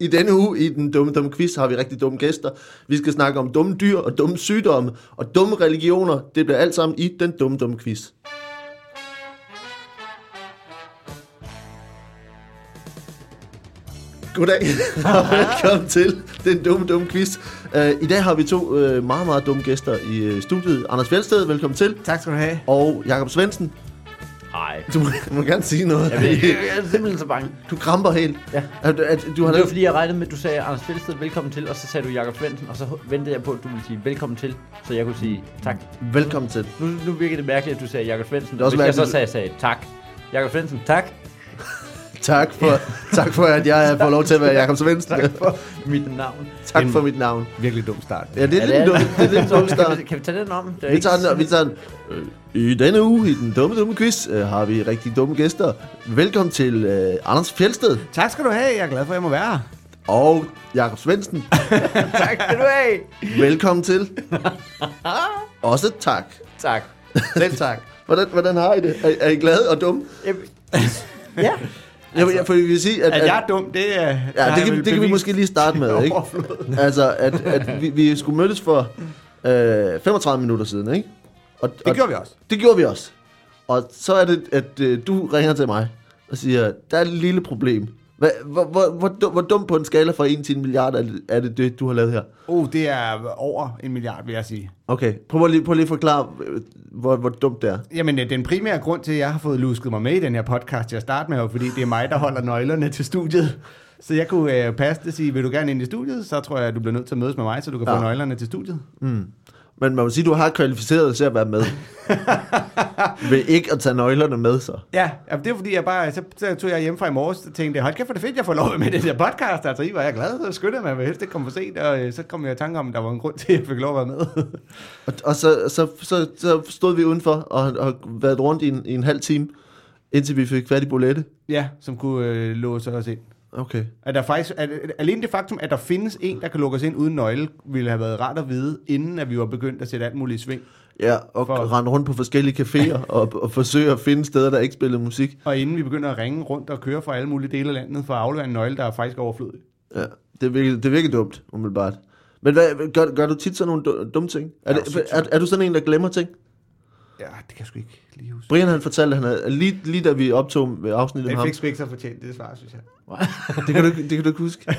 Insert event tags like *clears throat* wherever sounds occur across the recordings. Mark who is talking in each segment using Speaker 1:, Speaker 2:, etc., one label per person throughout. Speaker 1: I denne uge i den dumme, dumme quiz har vi rigtig dumme gæster. Vi skal snakke om dumme dyr og dumme sygdomme og dumme religioner. Det bliver alt sammen i den dumme, dumme quiz. Goddag *laughs* og velkommen til den dumme, dumme quiz. Uh, I dag har vi to uh, meget, meget dumme gæster i øh, studiet. Anders Fjeldsted, velkommen til.
Speaker 2: Tak skal du have.
Speaker 1: Og Jakob Svendsen,
Speaker 3: Nej.
Speaker 1: du må, du må gerne sige noget.
Speaker 3: Jeg er simpelthen så bange.
Speaker 1: Du kramper helt.
Speaker 3: Ja.
Speaker 1: At, at, du har
Speaker 3: Det var fordi, jeg regnede med, at du sagde, Anders Fjeldsted, velkommen til, og så sagde du Jakob Svendsen, og så ventede jeg på, at du ville sige velkommen til, så jeg kunne sige tak.
Speaker 1: Velkommen til.
Speaker 3: Nu, nu virker det mærkeligt, at du sagde Jakob Svendsen,
Speaker 1: er
Speaker 3: og
Speaker 1: også
Speaker 3: hvis jeg så
Speaker 1: mærkeligt-
Speaker 3: sagde, sagde tak. Jakob Svendsen, tak. *laughs*
Speaker 1: Tak for, tak for at jeg får lov til at være Jakob Svendsen.
Speaker 3: Tak for mit navn.
Speaker 1: tak for mit navn.
Speaker 2: *laughs* Virkelig dum start.
Speaker 1: Ja, det er
Speaker 3: *laughs* Ja,
Speaker 1: lidt dumt. Det er lidt dumt start.
Speaker 3: Kan vi, kan vi tage den om? Det er
Speaker 1: Vi
Speaker 3: ikke-
Speaker 1: tager den, og vi tager den. Øh, I denne uge i den dumme, dumme quiz øh, har vi rigtig dumme gæster. Velkommen til øh, Anders Fjeldsted
Speaker 2: Tak skal du have. Jeg er glad for, at jeg må være her.
Speaker 1: og Jakob Svendsen.
Speaker 3: Tak skal du have.
Speaker 1: Velkommen til. Også tak.
Speaker 3: Tak.
Speaker 1: Selv tak. Hvordan, hvordan har I det? Er, er I glade og dumme?
Speaker 3: Jeg- Ja.
Speaker 1: Jeg, jeg, for jeg vil sige, at,
Speaker 2: At
Speaker 1: at
Speaker 2: Altså, jeg er dum, det er...
Speaker 1: Ja, det kan, det kan vi måske lige starte med, ikke? *laughs* Altså, at, at vi, vi skulle mødtes for øh, 35 minutter siden, ikke? Og,
Speaker 2: Det gjorde vi også.
Speaker 1: Det gjorde vi også. Og så er det, at øh, du ringer til mig og siger, der er et lille problem. Hva, hvor, hvor, hvor, dum, hvor dum på en skala fra 1 til en milliard er det, er det, det, du har lavet her?
Speaker 2: Oh, det er over en milliard, vil jeg sige.
Speaker 1: Okay, prøv lige, prøv lige at forklare, øh, hvor, hvor dumt det er.
Speaker 2: Jamen, øh, den primære grund til, at jeg har fået lusket mig med i den her podcast til at starte med, er jo, fordi det er mig, der holder nøglerne til studiet. Så jeg kunne øh, passe det og sige, vil du gerne ind i studiet, så tror jeg, at du bliver nødt til at mødes med mig, så du kan
Speaker 1: Ja.
Speaker 2: få nøglerne til studiet.
Speaker 1: Men man må sige, du har kvalificeret dig til at være
Speaker 2: *laughs*
Speaker 1: med. Ved ikke at tage nøglerne med, så.
Speaker 2: Ja, jamen, det er fordi, jeg bare, så, så tog jeg hjem fra i morges og tænkte, hold kæft, for det fedt, jeg får lov at være med i den her podcast. Altså, I var jeg glad, så skyndte jeg mig, jeg ville helst ikke komme for sent, og øh, så kom jeg i tanke om, at der var en grund *laughs* til, at jeg fik lov at være med.
Speaker 1: Og, og så, så, så, så stod vi udenfor og har været rundt i en, i en halv time, indtil vi fik fat i Bolette.
Speaker 2: ja, som kunne øh, låse os ind.
Speaker 1: Okay.
Speaker 2: At der faktisk, at, at, alene det faktum, at der findes en, der kan lukke os ind uden nøgle, ville have været rart at vide, inden at vi var begyndt at sætte alt muligt i sving.
Speaker 1: Ja, og
Speaker 2: For-
Speaker 1: For... rende rundt på forskellige caféer *laughs* og, og forsøge at finde steder, der ikke spillede musik.
Speaker 2: Og inden vi begynder at ringe rundt og køre fra alle mulige dele af landet for at aflevere en nøgle, der er faktisk overflødig.
Speaker 1: Ja, det virker, det virker dumt, umiddelbart. Men hvad, gør, gør du tit sådan nogle du- dumme ting? Er,
Speaker 2: Ja,
Speaker 1: det,
Speaker 2: sindssygt.
Speaker 1: er, er du sådan en, der glemmer ting?
Speaker 2: Ja, det kan jeg sgu ikke lige huske.
Speaker 1: Brian han fortalte, at han havde, lige, lige da vi optog med afsnittet med
Speaker 2: Den
Speaker 1: ham,
Speaker 2: fik sgu ikke så fortjent, det svar, synes jeg.
Speaker 1: det kan, du, ikke- det kan du ikke huske.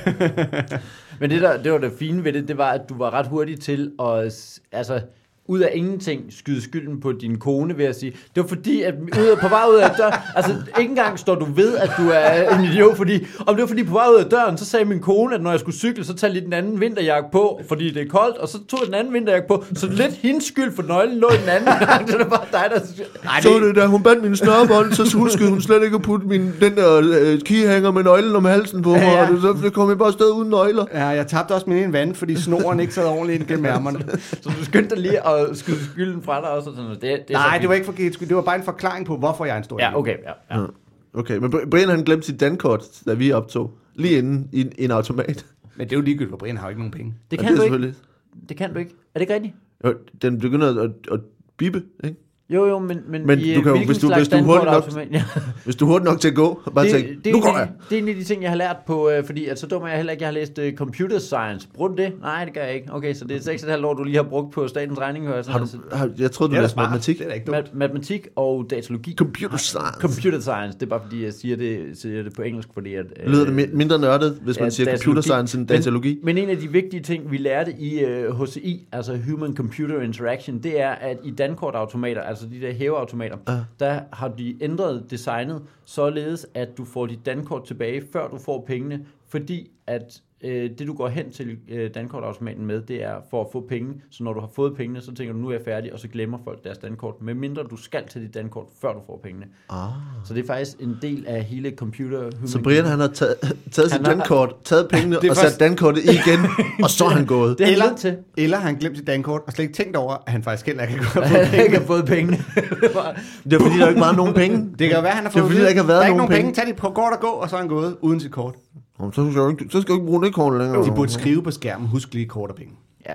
Speaker 3: Men det, der, det var det fine ved det, det var, at du var ret hurtig til at, s- altså, ud af ingenting skyde skylden på din kone, ved at sige. Det var fordi, at ud af, på vej ud af døren, altså ikke engang står du ved, at du er en idiot, fordi, om det var fordi på vej ud af døren, så sagde min kone, at når jeg skulle cykle, så tag lige den anden vinterjakke på, fordi det er koldt, og så tog jeg den anden vinterjakke på, så lidt hendes skyld, for nøglen lå i den anden, *laughs* det var bare dig, der...
Speaker 1: Ej, det... Så det, da hun bandt min snørebånd, så huskede hun slet ikke at putte min, den der øh, keyhanger med nøglen om halsen på mig, ja,
Speaker 2: ja.
Speaker 1: ja. og det, så det kom jeg bare afsted uden nøgler.
Speaker 2: Ja, jeg tabte også min ene vand, fordi snoren ikke sad ordentligt ind gennem ærmerne.
Speaker 3: Så du skyndte dig lige at skyde skylden fra dig også, og sådan noget. Det, det er så
Speaker 2: Nej,
Speaker 3: fint.
Speaker 2: det var ikke for givet skyld. Det var bare en forklaring på, hvorfor jeg er en stor
Speaker 3: Ja,
Speaker 2: idiot.
Speaker 3: okay, ja. ja.
Speaker 1: Okay, men Br- Brian han glemte sit dankort, da vi optog, lige inden i, en- i en automat.
Speaker 2: Men det er jo ligegyldigt, for Brian har jo ikke nogen penge.
Speaker 3: Det
Speaker 1: Og
Speaker 3: kan du
Speaker 1: er
Speaker 3: ikke.
Speaker 1: selvfølgelig-
Speaker 3: Det kan du ikke. Er det ikke rigtigt?
Speaker 1: Jo, Den begynder at, at, at bippe, ikke?
Speaker 3: Jo, jo, men, men,
Speaker 1: Men
Speaker 3: i,
Speaker 1: du kan jo-
Speaker 3: hvilken
Speaker 1: hvis du-
Speaker 3: slags
Speaker 1: hvis du er
Speaker 3: dankort
Speaker 1: hurtig nok-
Speaker 3: automat- Ja.
Speaker 1: Hvis du er hurtig nok til at gå, og
Speaker 3: *laughs*
Speaker 1: bare tænke,
Speaker 3: det, er
Speaker 1: nu
Speaker 3: en af
Speaker 1: går jeg.
Speaker 3: de- det er en af de ting, jeg har lært på, øh, fordi at så dum er jeg heller ikke, jeg har læst øh, computer science. Bruger du det? Nej, det gør jeg ikke. Okay, så det er 6,5 år, du lige har brugt på statens regning. Har
Speaker 1: Har du, har, jeg troede, du
Speaker 2: da
Speaker 1: læste
Speaker 2: smart.
Speaker 1: matematik.
Speaker 2: Det er da ikke dumt.
Speaker 3: Altså, Mat- matematik og datalogi.
Speaker 1: Computer science.
Speaker 3: Computer science, det er bare fordi, jeg siger det, siger det på engelsk, fordi at... øh,
Speaker 1: Lyder det mi- mindre nørdet, hvis man
Speaker 3: ja,
Speaker 1: siger
Speaker 3: datalogi.
Speaker 1: computer science end datalogi?
Speaker 3: Men en af de vigtige ting, vi lærte i øh, HCI, altså Human Computer Interaction, det er, at i dankortautomater, altså de der hæveautomater,
Speaker 1: Ja.
Speaker 3: der har de ændret designet, således at du får dit dankort tilbage, før du får pengene, fordi at øh, det du går hen til øh, dankortautomaten med, det er for at få penge, så når du har fået pengene, så tænker du, nu er jeg færdig, og så glemmer folk deres dankort, medmindre du skal til dit dankort, før du får pengene.
Speaker 1: Ah.
Speaker 3: Så det er faktisk en del af hele computer... Human
Speaker 1: Så Brian han har taget, taget sit
Speaker 3: Han har-
Speaker 1: dankort,
Speaker 2: *laughs*
Speaker 1: taget pengene
Speaker 2: Det er
Speaker 1: og
Speaker 2: først-
Speaker 1: sat dankortet i igen, og så er han gået.
Speaker 3: Det er han nødt til.
Speaker 2: eller har han glemt sit dankort og slet ikke tænkt over, at han faktisk heller ikke kan gøre
Speaker 3: Og *laughs* han
Speaker 2: penge.
Speaker 3: ikke har fået pengene. Det var-
Speaker 1: *laughs* Det er fordi, der ikke var nogen penge.
Speaker 2: Det kan jo være, han har
Speaker 1: Det er fordi,
Speaker 2: fået at vide,
Speaker 1: der ikke har været
Speaker 2: der er ikke
Speaker 1: nogen
Speaker 2: nogen penge. Tag dit på kort og gå, og så er han gået uden sit kort.
Speaker 1: Nå, men Så skal jeg jo ikke, så skal jeg jo ikke bruge det kort længere.
Speaker 2: De burde skrive på skærmen, husk lige kort og penge.
Speaker 3: ja.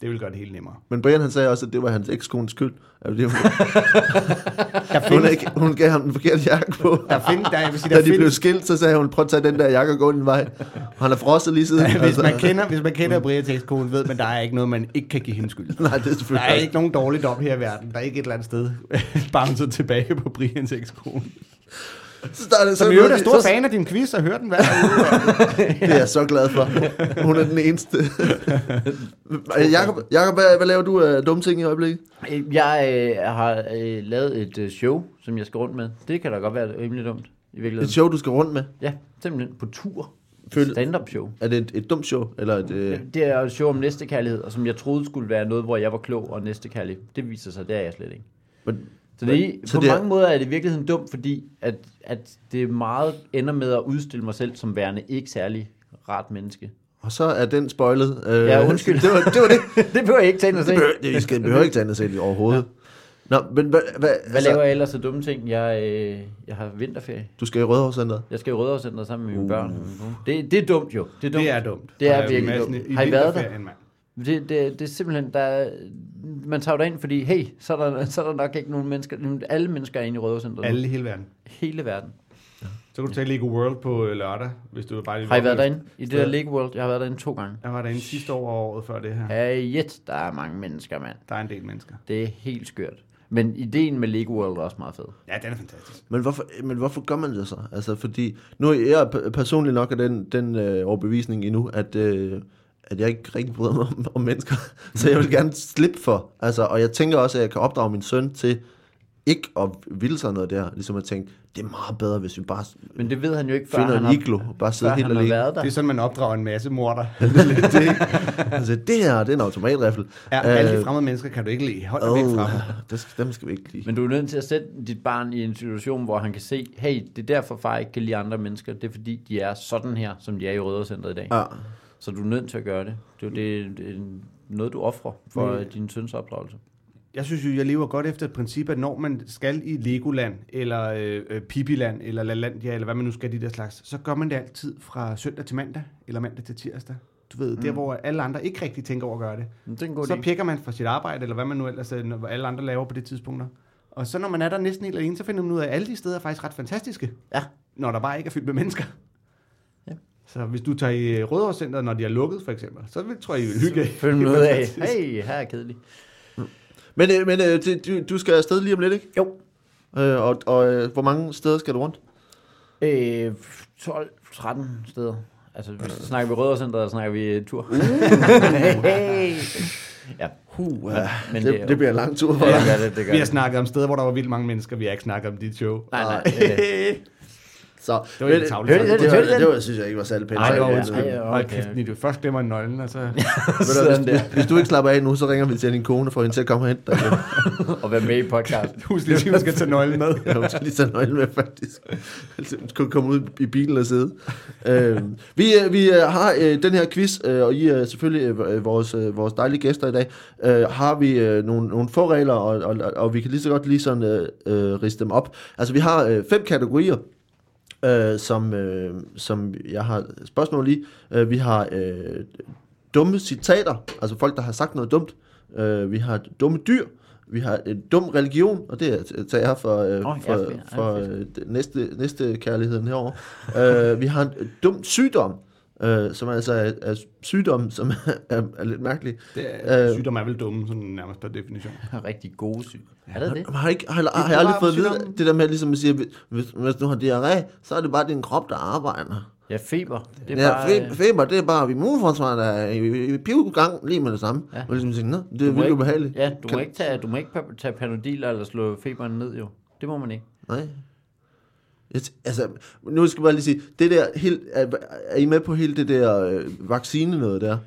Speaker 2: Det vil gøre det helt *laughs* nemmere.
Speaker 1: Men Brian han sagde også, at det var hans ekskones skyld. At det var,
Speaker 2: Der
Speaker 1: hun,
Speaker 2: findes,
Speaker 1: ikke, hun gav ham den forkerte jakke på.
Speaker 2: der findes, der, jeg vil sige,
Speaker 1: Da
Speaker 2: der
Speaker 1: de blev
Speaker 2: findes,
Speaker 1: skilt, så sagde hun, prøv at tage den der jakke og gå den vej. Og han er frosset lige siden.
Speaker 2: *laughs*
Speaker 1: altså.
Speaker 2: hvis man kender, hvis man kender Briateks kone, ved man, der er ikke noget, man ikke kan give hende skyld.
Speaker 1: Nej, det er
Speaker 2: Der
Speaker 1: selvfølgelig
Speaker 2: er
Speaker 1: også-
Speaker 2: ikke nogen dårligdom her i verden. Der er ikke et eller andet sted *laughs* bouncer tilbage på Brians ekskone.
Speaker 1: Så der er det
Speaker 2: Som
Speaker 1: sådan
Speaker 2: i øvrigt er
Speaker 1: noget,
Speaker 2: stor
Speaker 1: så-
Speaker 2: fan af din quiz og hører den hver
Speaker 3: *laughs*
Speaker 2: uge.
Speaker 1: Det er jeg så glad for. Hun er den
Speaker 3: *laughs*
Speaker 1: eneste. Jakob, Jakob hvad, hvad laver du af dumme ting i øjeblikket?
Speaker 3: Øh, Jeg øh, har øh, lavet et øh, show, som jeg skal rundt med. Det kan da godt være rimelig dumt i virkeligheden.
Speaker 1: Et show, du skal rundt med.
Speaker 3: Ja, simpelthen på tur.
Speaker 1: Føl-
Speaker 3: Stand-up show.
Speaker 1: Er det et, et dumt show? Eller et, øh...
Speaker 3: Det er jo et show om næstekærlighed, og som jeg troede skulle være noget, hvor jeg var klog og næstekærlig. Det viser sig, det er jeg slet ikke.
Speaker 1: men-
Speaker 3: Så, det, er-
Speaker 1: Så
Speaker 3: på
Speaker 1: det er-
Speaker 3: mange måder er det i virkeligheden dumt, fordi at, at det meget ender med at udstille mig selv som værende ikke særlig
Speaker 1: *laughs*
Speaker 3: rart menneske.
Speaker 1: Og så er den spoilet. Øh,
Speaker 3: Ja, undskyld.
Speaker 1: Det var det. Var det.
Speaker 3: *laughs* det behøver jeg ikke tage ind og se.
Speaker 1: det behøver, det, I skal, behøver ikke tage andet set overhovedet. Ja. Nå, men hvad, hvad,
Speaker 3: Hvad laver jeg ellers af dumme ting? Jeg, øh, jeg har vinterferie.
Speaker 1: Du skal i Rødovrecenteret.
Speaker 3: Jeg skal i Rødovrecenteret sammen med mine børn. Det, det er dumt jo. Det er dumt.
Speaker 2: Det er dumt.
Speaker 3: Det
Speaker 2: Og
Speaker 3: er
Speaker 2: der
Speaker 3: virkelig
Speaker 2: massen i
Speaker 3: dumt. Har I været der?
Speaker 2: vinterferien, mand.
Speaker 3: Det, det, det er simpelthen, der er, man tager jo derind, fordi hey, så er, der, så er der nok ikke nogen mennesker. Alle mennesker er inde i Rødovrecenteret.
Speaker 2: Alle i hele verden.
Speaker 3: Hele verden.
Speaker 2: Så kan du tage Lego World på øh, lørdag, hvis du bare lige...
Speaker 3: Har I
Speaker 2: vil
Speaker 3: været
Speaker 2: opleve-
Speaker 3: derinde? I det der Lego World? Jeg har været derinde to gange.
Speaker 2: Jeg var derinde sidste år og året før det her.
Speaker 3: Ja, jet, der er mange mennesker, mand.
Speaker 2: Der er en del mennesker.
Speaker 3: Det er helt skørt. Men ideen med Lego World er også meget fed.
Speaker 2: Ja, den er fantastisk.
Speaker 1: Men hvorfor, men hvorfor gør man det så? Altså, fordi nu er jeg pe- personligt nok af den, den øh, overbevisning endnu, at, øh, at jeg ikke rigtig bryder mig om, om mennesker. *laughs* Så jeg vil gerne slippe for. Altså, og jeg tænker også, at jeg kan opdrage min søn til ikke at ville sig noget der. Ligesom at tænke, det er meget bedre, hvis vi bare
Speaker 3: Men det ved han jo ikke, før
Speaker 1: finder
Speaker 3: han
Speaker 1: en
Speaker 3: har,
Speaker 1: iglo og bare
Speaker 3: før
Speaker 1: sidder
Speaker 3: han
Speaker 1: helt
Speaker 3: har
Speaker 1: alene.
Speaker 3: været der.
Speaker 2: Det er sådan, man opdrager en masse morder.
Speaker 1: Lidt *laughs* det, ikke? altså, det her, det er en automatriffel. Øh,
Speaker 2: Ja, alle
Speaker 3: Øh.
Speaker 2: de fremmede mennesker kan du ikke lide. Hold dig væk fra dem.
Speaker 1: det skal, dem skal vi ikke lide.
Speaker 3: Men du er nødt til at sætte dit barn i en situation, hvor han kan se, hey, det er derfor far ikke kan lide andre mennesker. Det er fordi, de er sådan her, som de er i Rødovrecenteret i dag.
Speaker 1: Ja.
Speaker 3: Så du er nødt til at gøre det. Det er, jo det, det er noget, du offrer for
Speaker 2: Men-
Speaker 3: din søns opdragelse.
Speaker 2: Jeg synes jo, jeg lever godt efter et princip, at når man skal i Legoland, eller øh, øh, Pippiland, eller LaLandia, eller hvad man nu skal, de der slags, så gør man det altid fra søndag til mandag, eller mandag til tirsdag. Du ved, mm. der hvor alle andre ikke rigtig tænker over at gøre det.
Speaker 3: Men det er en god
Speaker 2: Så
Speaker 3: idé.
Speaker 2: pjekker man fra sit arbejde, eller hvad man nu ellers, øh, hvad alle andre laver på det tidspunkt. Og så når man er der næsten helt alene, så finder man ud af, at alle de steder er faktisk ret fantastiske.
Speaker 3: Ja.
Speaker 2: Når der bare ikke er fyldt med mennesker.
Speaker 3: Ja.
Speaker 2: Så hvis du tager i øh, Rødovrecenteret, når de er lukket for eksempel, så vil, tror jeg, I vil hygge. jer.
Speaker 3: Følg med
Speaker 2: *laughs*
Speaker 3: ud af, hey, her er kedeligt.
Speaker 1: Men, øh, men øh, det- du, du skal afsted lige om lidt, ikke?
Speaker 3: Jo,
Speaker 1: Øh, og og øh, hvor mange steder skal du rundt?
Speaker 3: øh, 12-13 steder. Altså, hvis så snakker vi Rødovrecenteret, så snakker vi øh, tur. *laughs* hey. Ja,
Speaker 1: Uh, det,
Speaker 3: men det er jo-
Speaker 1: det, det bliver en lang tur for
Speaker 3: det
Speaker 1: dig.
Speaker 3: gør det, det gør
Speaker 2: Vi har
Speaker 3: det.
Speaker 2: snakket om steder, hvor der var vildt mange mennesker. Vi har ikke snakket om dit show. *laughs*
Speaker 3: Nej, nej. øh,
Speaker 2: det
Speaker 1: Så,
Speaker 2: var
Speaker 1: men-
Speaker 2: lidt tavligt.
Speaker 3: hørte I
Speaker 1: Det,
Speaker 2: sagt.
Speaker 1: det,
Speaker 3: Hørte I
Speaker 1: var,
Speaker 3: den?
Speaker 1: det var, synes jeg ikke var særlig pænt.
Speaker 2: Ej, det var
Speaker 1: Ved
Speaker 3: Ja,
Speaker 2: undskyld.
Speaker 3: ja, okay,
Speaker 2: Hold kæft, Nito. Først glemmer nøglen, og så... *laughs*
Speaker 1: du hvad,
Speaker 3: Sådan
Speaker 1: hvis,
Speaker 3: der.
Speaker 1: du, hvis du ikke slapper af nu, så ringer vi til din kone og får hende til at komme og hente dig.
Speaker 3: *laughs* Og være med i podcasten.
Speaker 2: Husk lige, at sige, du skal tage nøglen
Speaker 3: *laughs*
Speaker 2: med.
Speaker 1: Jeg skal lige tage nøglen med, faktisk. Altså, Hun skulle komme ud i bilen og sidde. Øh, vi, øh, vi øh, har øh, den her quiz, øh, og I er selvfølgelig øh, øh, vores, øh, vores dejlige gæster i dag. Øh, har vi øh, nogle, nogle få regler, og, og, og vi kan lige så godt lige sådan øh, øh, riste dem op. Altså, vi har øh, fem kategorier. øh, som, øh, som jeg har spørgsmål i. Øh, vi har øh, dumme citater, altså folk, der har sagt noget dumt. Øh, vi har dumme dyr. Vi har en dum religion, og det er- tager jeg for, øh,
Speaker 3: Åh,
Speaker 1: oh,
Speaker 3: ja,
Speaker 1: for,
Speaker 3: fedt. Ej,
Speaker 1: for
Speaker 3: fedt.
Speaker 1: øh, det- næste, næste kærligheden herovre. øh, vi har en dum sygdom, øh, som altså er, er sygdom, som er, er lidt mærkelig.
Speaker 3: Øh.
Speaker 2: Det, sygdom er vel dumme, sådan nærmest per definition.
Speaker 3: Rigtig gode syg. Er det det?
Speaker 1: Øh, Har, har, ikke, har, har
Speaker 2: Det
Speaker 1: jeg
Speaker 2: er
Speaker 1: aldrig
Speaker 2: bare
Speaker 1: fået at vide
Speaker 2: sygdommen.
Speaker 1: det der med, ligesom at sige, hvis, hvis, hvis du har diarré, så er det bare din krop, der arbejder.
Speaker 3: Ja, feber. Det er
Speaker 1: Ja,
Speaker 3: bare,
Speaker 1: fe-
Speaker 3: øh,
Speaker 1: feber, det er bare immunforsvaret, der er i, i pivgang lige med det samme.
Speaker 3: Ja.
Speaker 1: Ja. Og ligesom tænker, "Nå, det er
Speaker 3: du må
Speaker 1: vildt
Speaker 3: ikke-
Speaker 1: ubehageligt.
Speaker 3: Ja, du må,
Speaker 1: Kan-
Speaker 3: ikke tage, du må ikke pa- tage panodiler eller slå feberen ned, jo. Det må man ikke.
Speaker 1: Nej. Jeg t- altså, nu skal jeg bare lige sige, det der, helt, er, er I med på hele det der øh, vaccine noget der?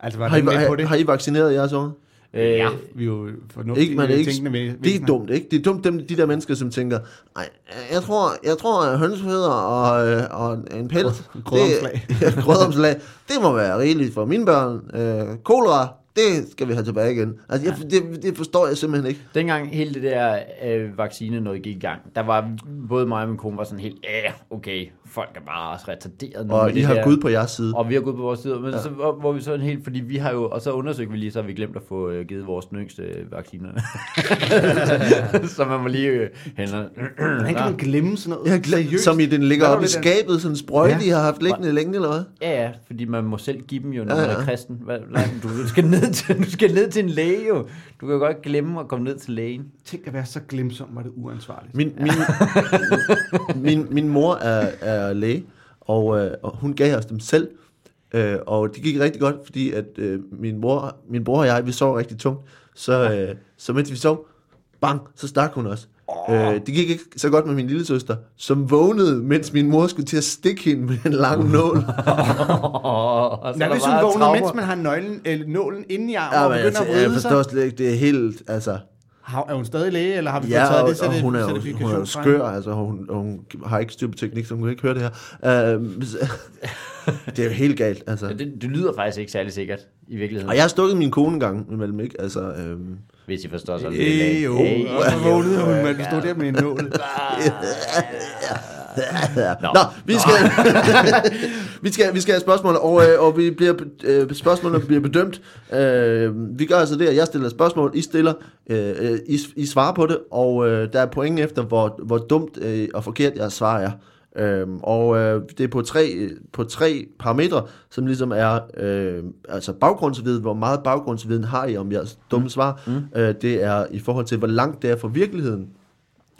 Speaker 2: Altså, var
Speaker 1: Har I,
Speaker 2: det med på
Speaker 1: har,
Speaker 2: det?
Speaker 1: har I vaccineret jeres unge?
Speaker 3: Øh,
Speaker 2: Ja, vi er jo
Speaker 1: Ikke, man er
Speaker 2: fornuftige
Speaker 1: ikke,
Speaker 2: tænkende ved.
Speaker 1: det er dumt, ikke? Det er dumt, dem, de der mennesker, som tænker, nej, jeg tror, jeg tror at hønsefødder og, øh, og en- en pels, *laughs*
Speaker 2: Grødomslag."
Speaker 1: det, ja, grødomslag, det må være rigeligt for mine børn. Øh, kolera, det skal vi have tilbage igen. Altså, jeg, det, det forstår jeg simpelthen ikke.
Speaker 3: Dengang hele det der øh, vaccine noget gik i gang, der var både mig og min kone var sådan helt, ja, okay, folk er bare også retarderet nu.
Speaker 1: Og
Speaker 3: med
Speaker 1: I
Speaker 3: det
Speaker 1: har
Speaker 3: der."
Speaker 1: Gud på jeres side.
Speaker 3: Og vi har gået på vores side, men ja. så, hvor hvor vi sådan helt, fordi vi har jo, og så undersøgte vi lige, så har vi glemt at få øh, givet vores den yngste
Speaker 1: *laughs*
Speaker 3: øh, vaccinerne. så man må lige øh, hente.
Speaker 1: *clears throat*
Speaker 2: Hvordan kan man glemme sådan noget?
Speaker 1: Jeg har glemt, som i den ligger
Speaker 2: Hvad er
Speaker 1: oppe i
Speaker 2: det, den-
Speaker 1: skabet, sådan en sprøjte, ja.
Speaker 2: Ja.
Speaker 1: I har haft liggende længe, eller hvad?
Speaker 3: Ja, ja, fordi man må selv give dem jo, når
Speaker 1: Ja,
Speaker 3: man
Speaker 1: ja.
Speaker 3: er kristen. Hvad, nej, du, du, skal ned til, du skal ned til en læge jo. Du kan jo godt glemme at komme ned til lægen.
Speaker 2: Tænk at være så glemsom, var det uansvarligt.
Speaker 1: Min, min, *laughs* min, min mor er, er læge, og, øh, og hun gav os dem selv. Øh, og det gik rigtig godt, fordi at øh, min, mor, min bror og jeg, vi sov rigtig tungt. Så, øh, så mens vi sov, bang, så stak hun os. Øh, det gik ikke så godt med min lille søster, som vågnede, mens min mor skulle til at stikke hende med en lang
Speaker 2: *laughs*
Speaker 1: nål.
Speaker 3: Oh, og så
Speaker 2: Hvad
Speaker 3: er der
Speaker 2: hvis hun
Speaker 3: bare
Speaker 2: vågner,
Speaker 3: traumer.
Speaker 2: mens man har nøglen, eller nålen inde i armen
Speaker 1: Ja,
Speaker 2: og
Speaker 1: men,
Speaker 2: begynder
Speaker 1: altså,
Speaker 2: at
Speaker 1: jeg
Speaker 2: vride
Speaker 1: forstår
Speaker 2: sig?
Speaker 1: slet ikke, det er helt, altså...
Speaker 2: Har- Er hun stadig læge, eller har vi fået
Speaker 1: Ja,
Speaker 2: taget
Speaker 1: og,
Speaker 2: det så
Speaker 1: og
Speaker 2: det-
Speaker 1: hun er
Speaker 2: så
Speaker 1: jo,
Speaker 2: det
Speaker 1: hun er jo
Speaker 2: fikationsfremme?
Speaker 1: skør, altså og hun, og hun har ikke styr på teknik, så hun kan ikke høre det her. Øhm, så-
Speaker 2: *laughs*
Speaker 1: det er jo helt galt, altså.
Speaker 3: Ja, det, det lyder faktisk ikke særlig sikkert i virkeligheden,
Speaker 1: Og jeg har stukket min kone engang imellem, ikke? Altså, øhm,
Speaker 3: hvis I forstår sådan
Speaker 2: Øh, jo. Og så vågnede hun, men du stod der med en
Speaker 1: *laughs*
Speaker 2: nål.
Speaker 1: Nå, Nå vi, skal, *laughs* vi, skal, vi skal have spørgsmål, og, øh, og vi bliver, be- øh, spørgsmålene bliver bedømt. Øh, vi gør altså det, at jeg stiller spørgsmål, I stiller, øh, øh, I, I svarer på det, og øh, der er point efter, hvor, hvor dumt øh, og forkert jeg svarer er. Øhm, og øh, det er på tre, øh, på tre parametre, som ligesom er øh, altså baggrundsviden, hvor meget baggrundsviden har I om jeres dumme svar. Mm. Øh, det er i forhold til, hvor langt det er fra virkeligheden,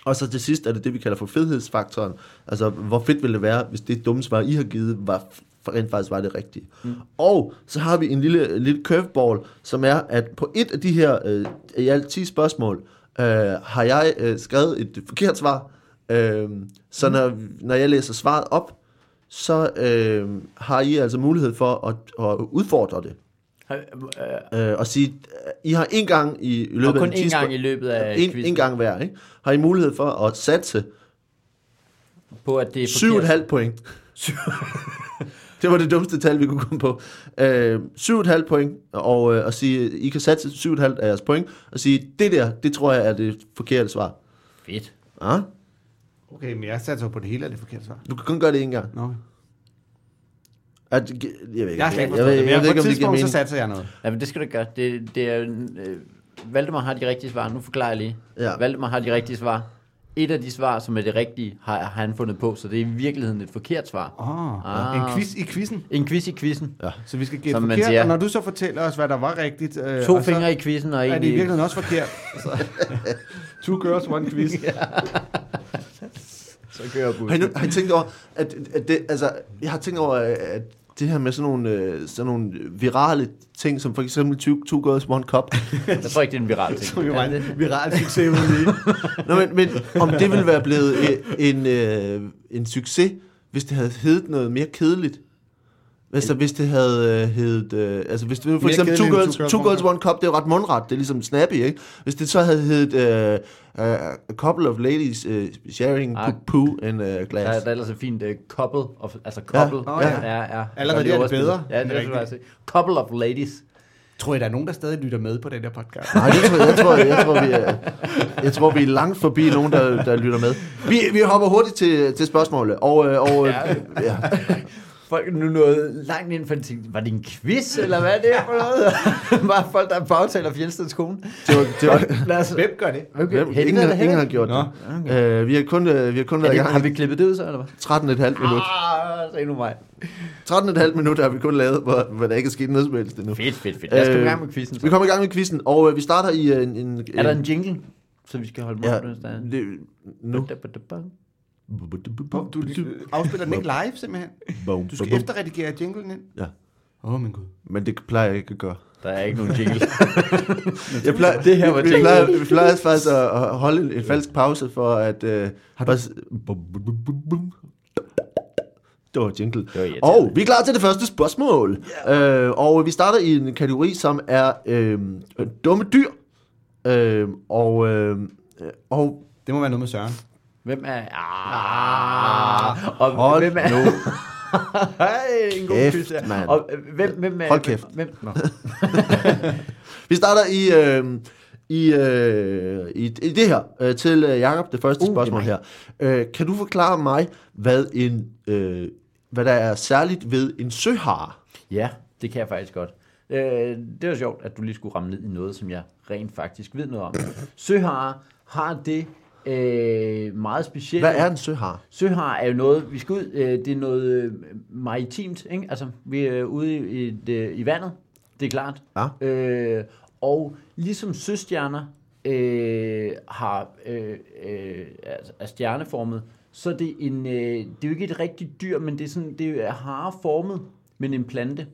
Speaker 1: og så til sidst er det det, vi kalder for fedhedsfaktoren. Altså, hvor fedt ville det være, hvis det dumme svar, I har givet, var f- rent faktisk var det rigtige. Mm. Og så har vi en lille, lille curveball, som er, at på et af de her øh, i alt 10 spørgsmål, øh, har jeg øh, skrevet et forkert svar. Øh, så mm. når, når jeg læser svaret op, så øh, har I altså mulighed for at, at udfordre det. Øh, og sige, øh, I har en gang i, i løbet
Speaker 3: Og
Speaker 1: af
Speaker 3: kun
Speaker 1: de 10
Speaker 3: én gang
Speaker 1: spør-
Speaker 3: i løbet af
Speaker 1: en,
Speaker 3: quizzen
Speaker 1: en gang hver, ikke? har I mulighed for at satse
Speaker 3: på, at det er forkert.
Speaker 1: 7,5 point. det var det dummeste tal, vi kunne komme på. Øh, 7,5 point, og, øh, og sige, I kan satse 7,5 af jeres point, og sige, det der, det tror jeg er det forkerte svar.
Speaker 3: Fedt.
Speaker 1: Ah,
Speaker 2: Okay, men jeg satte jo på det hele af det forkerte svar.
Speaker 1: du kan kun gøre det en gang.
Speaker 2: Nå.
Speaker 1: At, jeg ved ikke,
Speaker 2: Jeg har slet ikke
Speaker 1: jeg,
Speaker 2: forstået
Speaker 1: ved,
Speaker 2: det,
Speaker 1: jeg,
Speaker 2: men
Speaker 1: jeg ved
Speaker 2: jeg-
Speaker 1: ikke,
Speaker 2: på
Speaker 1: om det giver
Speaker 2: et tidspunkt, så
Speaker 1: mening.
Speaker 2: satte jeg noget.
Speaker 3: Ja, men det skal du ikke gøre. Det, det er, øh, Valdemar har de rigtige svar. Nu forklarer jeg lige.
Speaker 1: Ja.
Speaker 3: Valdemar har de rigtige svar. Et af de svar, som er det rigtige, har, har han fundet på, så det er i virkeligheden et forkert svar.
Speaker 2: Åh,
Speaker 3: Ah.
Speaker 2: en quiz i quizzen.
Speaker 3: En quiz i quizzen. Ja.
Speaker 2: Så vi skal gætte
Speaker 3: Som man
Speaker 2: forkert,
Speaker 3: siger.
Speaker 2: og når du så fortæller os, hvad der var rigtigt, øh,
Speaker 3: To
Speaker 2: og så
Speaker 3: fingre i quizzen og en
Speaker 2: er det i
Speaker 3: i...
Speaker 2: virkeligheden også forkert. *laughs* Så- Altså, Two girls, one quiz. *laughs*
Speaker 3: Så kører
Speaker 1: Har I,
Speaker 3: bussen.
Speaker 1: nu- har I tænkt over, at, at det, altså, jeg har tænkt over, at det her med sådan nogle, øh, sådan nogle virale ting, som for eksempel Two, two Girls One Cup,
Speaker 3: Jeg tror ikke, det er en viral
Speaker 2: *laughs*
Speaker 3: ting.
Speaker 2: Som jo var
Speaker 3: Ja, det-
Speaker 2: en viral succes uden lige.
Speaker 1: Nå, men, men om det ville være blevet øh, en, øh, en succes, hvis det havde heddet noget mere kedeligt? Altså, hvis det havde øh, heddet... Øh, altså, hvis det, for
Speaker 2: Mere
Speaker 1: eksempel Two
Speaker 2: kedeligt end
Speaker 1: Girls, two girls One Cup, det er jo ret mundret, det er ligesom snappy, ikke? Hvis det så havde heddet øh, øh, A Couple of Ladies øh, Sharing
Speaker 3: Ah.
Speaker 1: Poo in a Glass.
Speaker 3: Der, der er ellers et fint uh, couple, of, altså couple.
Speaker 2: Åh, ja.
Speaker 3: ja, ja.
Speaker 2: Allerede
Speaker 3: Godt
Speaker 2: der er det
Speaker 3: overspillet.
Speaker 2: bedre,
Speaker 3: Ja, det
Speaker 2: end
Speaker 3: er
Speaker 2: rigtigt.
Speaker 3: faktisk. Couple of ladies.
Speaker 2: *laughs* Tror I, der er nogen, der stadig lytter med på den der podcast?
Speaker 1: Nej, det tror jeg, jeg, tror, jeg, jeg, tror, vi er, jeg tror, vi er langt forbi nogen, der, der lytter med. Vi, vi hopper hurtigt til, til spørgsmålet, og, øh, og øh, ja.
Speaker 3: Folk er nu noget langt ind for det tænkte, var det en quiz, eller hvad er det her for noget? *laughs* Bare folk, der bagtaler Fjeldsteds kone.
Speaker 1: det var, det var,
Speaker 3: *laughs* Lad os...
Speaker 2: Hvem gør det?
Speaker 3: Okay.
Speaker 1: Hvem, ingen, har, ingen har gjort
Speaker 2: Nå.
Speaker 1: det. Øh, vi har kun, øh, vi har kun
Speaker 3: Er
Speaker 1: været i
Speaker 3: det,
Speaker 1: gang
Speaker 3: har
Speaker 1: i
Speaker 3: vi klippet det ud så, eller hvad?
Speaker 1: 13,5 minut.
Speaker 3: Ah, se nu mig.
Speaker 1: 13,5 minutter har vi kun lavet, hvor, hvor der ikke er sket noget som helst endnu.
Speaker 3: Fedt, fedt, fedt. Lad os komme i
Speaker 1: Øh,
Speaker 3: gang med quizzen. Så.
Speaker 1: Vi kommer i gang med quizzen, og øh, vi starter i øh, en... en
Speaker 3: Er der en jingle, så vi skal holde
Speaker 1: Ja,
Speaker 3: mod? hvis der er?
Speaker 1: det, nu.
Speaker 2: Du øh, afspiller den ikke live, simpelthen? Du skal efterredigere jinglen ind.
Speaker 1: Ja,
Speaker 2: Åh, oh, min Gud.
Speaker 1: men det plejer jeg ikke at gøre.
Speaker 3: Der er ikke nogen *laughs* jingle.
Speaker 1: Jeg plejer, det her var vi, plejer, vi plejer faktisk at, at holde en, en falsk pause for at... Øh, bare, s- det var jingle.
Speaker 3: var irriterende.
Speaker 1: og vi er klar til det første spørgsmål. Yeah. Øh, og vi starter i en kategori, som er øh, dumme dyr. Øh, og, øh, og
Speaker 2: Det må være noget med Søren.
Speaker 3: Hvem er... Ah, og
Speaker 1: hold
Speaker 3: *laughs* hvem er...
Speaker 1: nu
Speaker 3: Hej, en god
Speaker 1: Kæft,
Speaker 3: kæft, quiz. Ja.
Speaker 1: mand.
Speaker 3: Og øh, hvem, hvem er...
Speaker 1: Hold kæft.
Speaker 3: Hvem, nå.
Speaker 1: Vi starter i, øh, i, øh, i, i det her, øh, til øh, Jakob det første uh, spørgsmål her. Øh, kan du forklare mig, hvad, en, øh, hvad der er særligt ved en søhare?
Speaker 3: Ja, det kan jeg faktisk godt. Øh, det var sjovt, at du lige skulle ramme ned i noget, som jeg rent faktisk ved noget om. Søharer har det øh, meget specielt.
Speaker 1: Hvad er en søhare?
Speaker 3: Søhar er jo noget, vi skal ud, øh, det er noget øh, maritimt, ikke? Altså, vi er ude i, i, det- i vandet, det er klart.
Speaker 1: Ja.
Speaker 3: Øh, og ligesom søstjerner øh, har, øh, øh, altså, er stjerneformet, så er det en, øh, det er jo ikke et rigtigt dyr, men det er sådan, det er hareformet, men en plante.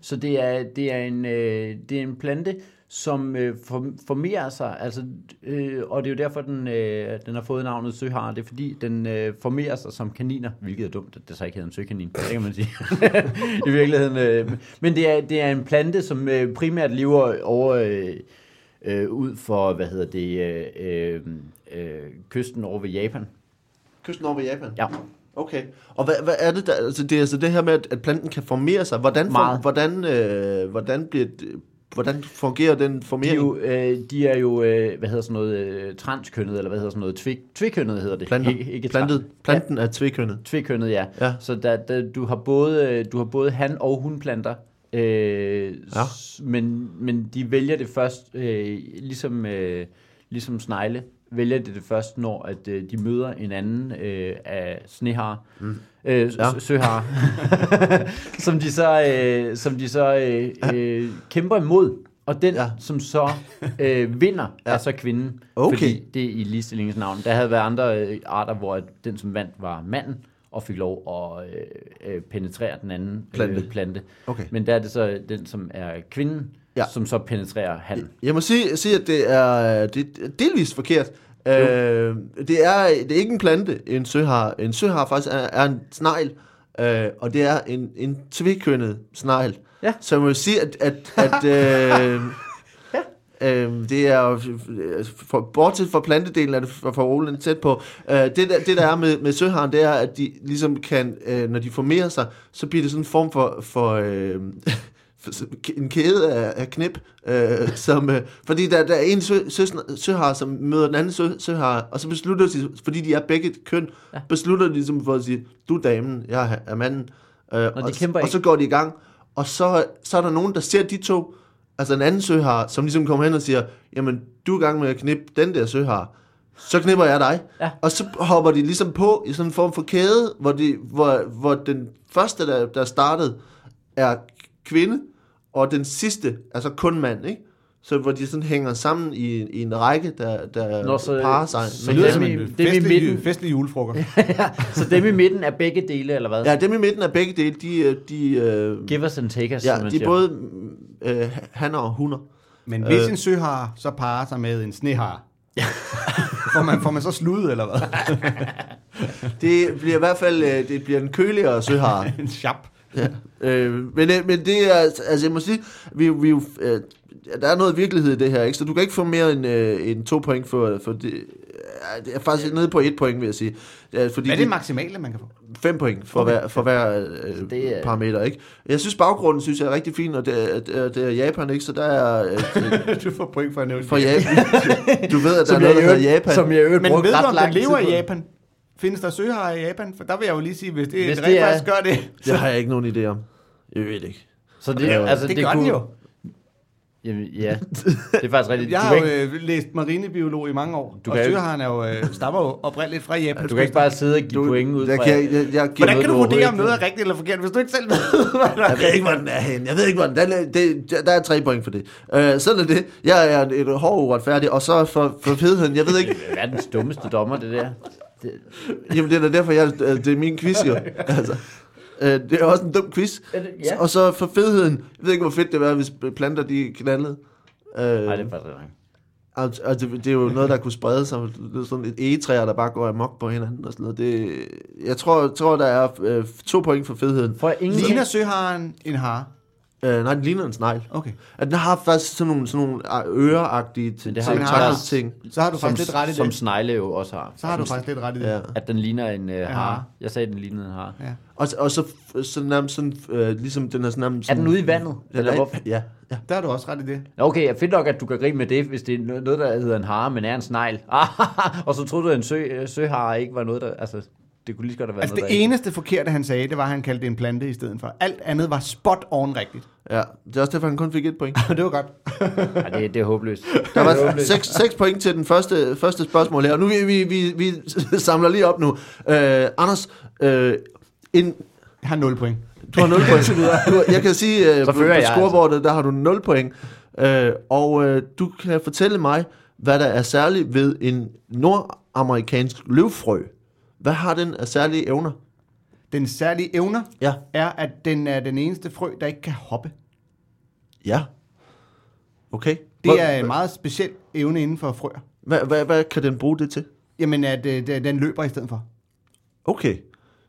Speaker 3: Så det er, det er, en, øh, det er en plante, som øh, for- formerer sig, altså, øh, og det er jo derfor, den, øh, den har fået navnet søhar. Det er fordi, den øh, formerer sig som kaniner, hvilket er dumt, at det så ikke hedder en søkanin, det kan man sige. *laughs* I virkeligheden. Øh, men det er, det er en plante, som øh, primært lever over... Øh, øh, ud for, hvad hedder det, øh, øh, øh, kysten over ved Japan.
Speaker 1: Kysten over Japan?
Speaker 3: Ja.
Speaker 1: Okay. Og hvad, hvad er det der? Altså det er altså det her med, at, at planten kan formere sig. Hvordan, for,
Speaker 3: Meget.
Speaker 1: hvordan, øh, hvordan, bliver, det- hvordan fungerer den
Speaker 3: De er
Speaker 1: formering?
Speaker 3: jo, øh, de er jo øh, hvad hedder sådan noget, øh, transkønnet, eller hvad hedder sådan noget, tvik, tvikønnet hedder det.
Speaker 1: Planter.
Speaker 3: Ikke, ikke
Speaker 1: Plantet,
Speaker 3: tran-
Speaker 1: planten ja. er tvekønnet.
Speaker 3: Ja, tvikønnet, ja.
Speaker 1: Ja.
Speaker 3: Så der, der, du, har både, øh, du har både han- og hunplanter, øh,
Speaker 1: Ja.
Speaker 3: s- men, men de vælger det først, øh, ligesom, øh, ligesom snegle, vælger det det først, når at, øh, de møder en anden øh, af snehar, mm. øh,
Speaker 1: Ja.
Speaker 3: ja. søhar, *laughs* som de så, øh, som de så øh, øh, kæmper imod. Og den,
Speaker 1: Ja.
Speaker 3: ja. som så øh, vinder, ja. er så kvinden.
Speaker 1: Okay.
Speaker 3: Fordi det er i ligestillingens navn. Der havde været andre øh, arter, hvor at den, som vandt, var manden, og fik lov at øh, øh, penetrere den anden plante. Øh, plante.
Speaker 1: Okay.
Speaker 3: Men der er det så den, som er kvinden,
Speaker 1: Ja.
Speaker 3: ja. som så penetrerer han.
Speaker 1: Jeg må sige, sige at det er, det er delvist forkert. Øh, det, er, det er ikke en plante, en søhar. En søhar faktisk er, er en snegl, øh, og det er en, en tvekønnet snegl.
Speaker 3: Ja.
Speaker 1: Så jeg må sige, at, at, at øh,
Speaker 3: *laughs*
Speaker 1: Øhm, det er jo- for, bortset fra plantedelen er det for, for Roland tæt på. Øh, det, der, det der er med, med søharen, det er, at de ligesom kan, øh, når de formerer sig, så bliver det sådan en form for, for, øh, *laughs* for en kæde af, af knip. Øh, som, øh, fordi der, der er en sø, sø, søhar, som møder den anden sø, søhar, og så beslutter de, fordi de er begge køn, ja. beslutter de ligesom for at sige, du er damen, jeg er- er manden. Øh,
Speaker 3: de
Speaker 1: og,
Speaker 3: kæmper
Speaker 1: og
Speaker 3: ikke.
Speaker 1: så går de i gang, og så, så er der nogen, der ser de to, altså en anden søhar, som ligesom kommer hen og siger, jamen, du er i gang med at knippe den der søhar, så knipper jeg dig.
Speaker 3: Ja.
Speaker 1: Og så hopper de ligesom på i sådan en form for kæde, hvor, de, hvor, hvor den første, der, der startede, er kvinde, og den sidste er så kun mand, ikke? Så hvor de sådan hænger sammen i, i en række, der, der
Speaker 3: Nå, så- øh,
Speaker 1: parer sig.
Speaker 3: så
Speaker 1: med
Speaker 3: lyder det
Speaker 1: hinanden.
Speaker 3: som
Speaker 2: en
Speaker 3: det er
Speaker 2: festlig,
Speaker 3: i midten.
Speaker 2: festlig julefrokost. *laughs*
Speaker 3: *laughs* så dem i midten er begge dele, eller hvad?
Speaker 1: Ja, dem i midten af begge dele, de, øh, de, øh,
Speaker 3: Give us and take us, som
Speaker 1: ja,
Speaker 3: man
Speaker 1: de er
Speaker 3: siger.
Speaker 1: både øh, hanner og hunder.
Speaker 2: Men hvis en søhar så parer sig med en snehar, *laughs* får, man, får man så slud, eller hvad?
Speaker 1: Det bliver i hvert fald øh, det bliver en køligere
Speaker 3: *laughs*
Speaker 1: søhare.
Speaker 2: en chap.
Speaker 1: Ja. Øh, men, øh, men det er, altså jeg må sige, vi, vi, er jo, øh, der er noget virkelighed i det her, ikke? så du kan ikke få mere end, øh, end to point for, for det. Ja, det er faktisk nede på et point, vil jeg sige. Ja, fordi
Speaker 2: Hvad er det maksimale, man kan få?
Speaker 1: fem point for okay. hver, for hver øh, det
Speaker 3: det
Speaker 1: er...
Speaker 3: er-
Speaker 1: parameter, ikke? Jeg synes, baggrunden synes jeg er rigtig fin, og det, er- det, er- det er Japan, ikke? Så der er...
Speaker 3: *laughs*
Speaker 1: Øh,
Speaker 2: *laughs* du får point for at nævne
Speaker 1: for Japan. Du ved, at der
Speaker 3: Som
Speaker 1: er noget,
Speaker 3: jeg
Speaker 1: der
Speaker 3: i øvrigt-
Speaker 1: hedder Japan.
Speaker 3: Som jeg i øvrigt
Speaker 2: Men
Speaker 3: brugte
Speaker 2: ved du,
Speaker 3: ret
Speaker 2: om
Speaker 3: lang
Speaker 2: den
Speaker 3: tid
Speaker 2: lever
Speaker 3: på.
Speaker 2: i Japan? Findes der søharer i Japan? For der vil jeg jo lige sige, hvis det,
Speaker 3: Hvis
Speaker 2: hvis det
Speaker 3: det
Speaker 2: rent
Speaker 3: er-
Speaker 2: faktisk gør det.
Speaker 1: Det har jeg ikke nogen idé om. Jeg ved det ikke.
Speaker 3: Så det,
Speaker 1: Ja,
Speaker 3: altså,
Speaker 2: Det, det gør den
Speaker 3: kunne-
Speaker 2: jo.
Speaker 3: Jamen, *laughs* ja, det er faktisk rigtigt.
Speaker 2: Jeg
Speaker 3: Du
Speaker 2: har
Speaker 3: kan
Speaker 2: jo
Speaker 3: ikke,
Speaker 2: øh, læst marinebiolog i mange år,
Speaker 3: Du
Speaker 2: og
Speaker 3: kan jo-
Speaker 2: søharen er jo, øh, stammer jo oprindeligt fra Japan.
Speaker 3: du kan ikke bare sidde og give
Speaker 1: Du-
Speaker 3: point ud
Speaker 1: jeg
Speaker 3: fra...
Speaker 1: kan, jeg, jeg, jeg giver
Speaker 2: Hvordan
Speaker 1: noget,
Speaker 2: kan du
Speaker 1: overhovedet
Speaker 2: vurdere, om
Speaker 1: ikke
Speaker 2: noget
Speaker 1: ved.
Speaker 2: er rigtigt eller forkert, hvis du ikke selv ved, *laughs* hvad der
Speaker 1: Jeg ved ikke, hvor den er henne. Jeg ved ikke, hvor den er. Det, der er tre point for det. Øh, sådan er det. Jeg er et hård uretfærdig, og så for, for fedheden. Jeg ved ikke.
Speaker 3: Hvad er den dummeste dommer, det der? Det,
Speaker 1: Jamen, det er da derfor, jeg, øh, det er min quiz jo. Altså, øh, det er også en dum quiz.
Speaker 3: Er det- ja.
Speaker 1: Og så for fedheden. Jeg ved ikke, hvor fedt det var, hvis planter de knaldede. Øh,
Speaker 3: nej, det er faktisk rigtigt.
Speaker 1: altså, og det, det, er jo noget, der kunne sprede sig. Det er sådan et egetræer, der bare går amok på hinanden og sådan noget. Det, jeg tror, tror der er øh, to point for fedheden.
Speaker 3: For ingen
Speaker 2: Ligner søharen en har?
Speaker 1: Øh, nej, den ligner en snegl.
Speaker 2: Okay.
Speaker 1: At den har faktisk sådan nogle, sådan nogle ah, øreagtige
Speaker 3: Men
Speaker 1: ting,
Speaker 3: det har vi
Speaker 1: takket
Speaker 3: også.
Speaker 1: ting.
Speaker 2: Så har du
Speaker 3: Som,
Speaker 2: faktisk lidt ret i det.
Speaker 3: som snegle jo også har.
Speaker 2: så har du faktisk lidt ret i det.
Speaker 1: Ja.
Speaker 3: At den ligner en øh, hare.
Speaker 2: har.
Speaker 3: Jeg sagde, at den lignede en hare.
Speaker 2: Ja.
Speaker 1: Og, så- og så, så nærmest sådan, øh, ligesom den er sådan nærmest...
Speaker 3: Er
Speaker 1: Sådan,
Speaker 3: den ude i vandet?
Speaker 1: Ja,
Speaker 3: Eller
Speaker 1: der-
Speaker 3: hvorfor?
Speaker 1: ja, ja.
Speaker 2: Der har du også ret i det.
Speaker 3: Nå, Okay, jeg fedt nok, at du kan grine med det, hvis det er no- noget, der hedder en hare, men er en snegl. *laughs* og så troede du, at en sø, øh, søhare ikke var noget, der... Altså, det kunne lige så godt have været
Speaker 2: Altså
Speaker 3: noget,
Speaker 2: det eneste forkerte, han sagde, det var, at han kaldte det en plante i stedet for. Alt andet var spot on
Speaker 3: *laughs*
Speaker 2: rigtigt.
Speaker 1: Ja, det er også derfor, han kun fik et point.
Speaker 2: Og det var godt.
Speaker 3: der ikke... Ej, det, det er håbløst.
Speaker 1: Der var 6, 6 point til den første, første spørgsmål her. Og nu vi, vi, vi, vi *laughs* samler lige op nu. Øh, Anders, øh, en,
Speaker 2: Jeg har 0 point.
Speaker 1: du har 0 point. Du, har- jeg kan sige, øh,
Speaker 3: Så
Speaker 1: på,
Speaker 3: fører
Speaker 1: på
Speaker 3: jeg, altså.
Speaker 1: scoreboardet, der har du 0 point. Øh, og øh, du kan fortælle mig, hvad der er særligt ved en nordamerikansk løvfrø. Hvad har den af særlige evner?
Speaker 2: Den særlige evner
Speaker 1: Ja.
Speaker 2: er, at den er den eneste frø, der ikke kan hoppe.
Speaker 1: Ja. Okay.
Speaker 2: Det er en meget speciel evne inden for frøer.
Speaker 1: Hvad, hvad, hvad kan den bruge det til?
Speaker 2: Jamen, at øh, den- den løber i stedet for.
Speaker 1: Okay.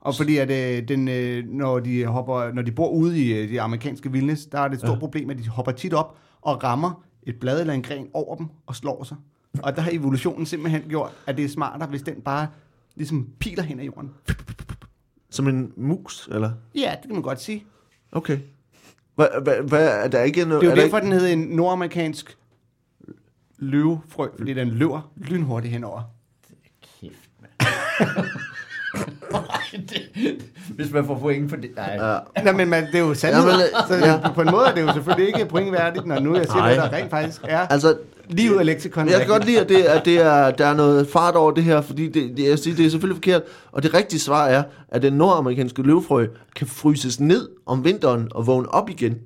Speaker 2: Og fordi at øh, den, øh, når, de hopper, når de bor ude i øh, de amerikanske vildnes, der er det et stort ja. problem, at de hopper tit op og rammer et blad eller en gren over dem og slår sig. Og der har evolutionen simpelthen gjort, at det er smartere, hvis den bare ligesom piler hen ad jorden.
Speaker 1: Som en mus, eller?
Speaker 2: Ja, det kan man godt sige.
Speaker 1: Okay. Hvad, hvad, hvad er der ikke noget...
Speaker 2: Det er jo
Speaker 1: der
Speaker 2: derfor,
Speaker 1: ikke-
Speaker 2: den hedder en nordamerikansk løvefrø, fordi den løber lynhurtigt henover.
Speaker 3: Kæft, mand. Ej, det- Hvis man får point for det... Nej.
Speaker 1: Ja.
Speaker 2: Nej, men man, det er jo sandt.
Speaker 1: Ja, men,
Speaker 2: så
Speaker 1: ja.
Speaker 2: på en måde er det jo selvfølgelig ikke pointværdigt, når nu jeg siger,
Speaker 1: Nej.
Speaker 2: hvad der rent faktisk er.
Speaker 1: Altså,
Speaker 2: Lige ud af leksikon.
Speaker 1: jeg kan godt lide, at, det, at det er, der er noget fart over det her, fordi det, det, jeg siger, det er selvfølgelig forkert. Og det rigtige svar er, at den nordamerikanske løvfrø kan fryses ned om vinteren og vågne op igen.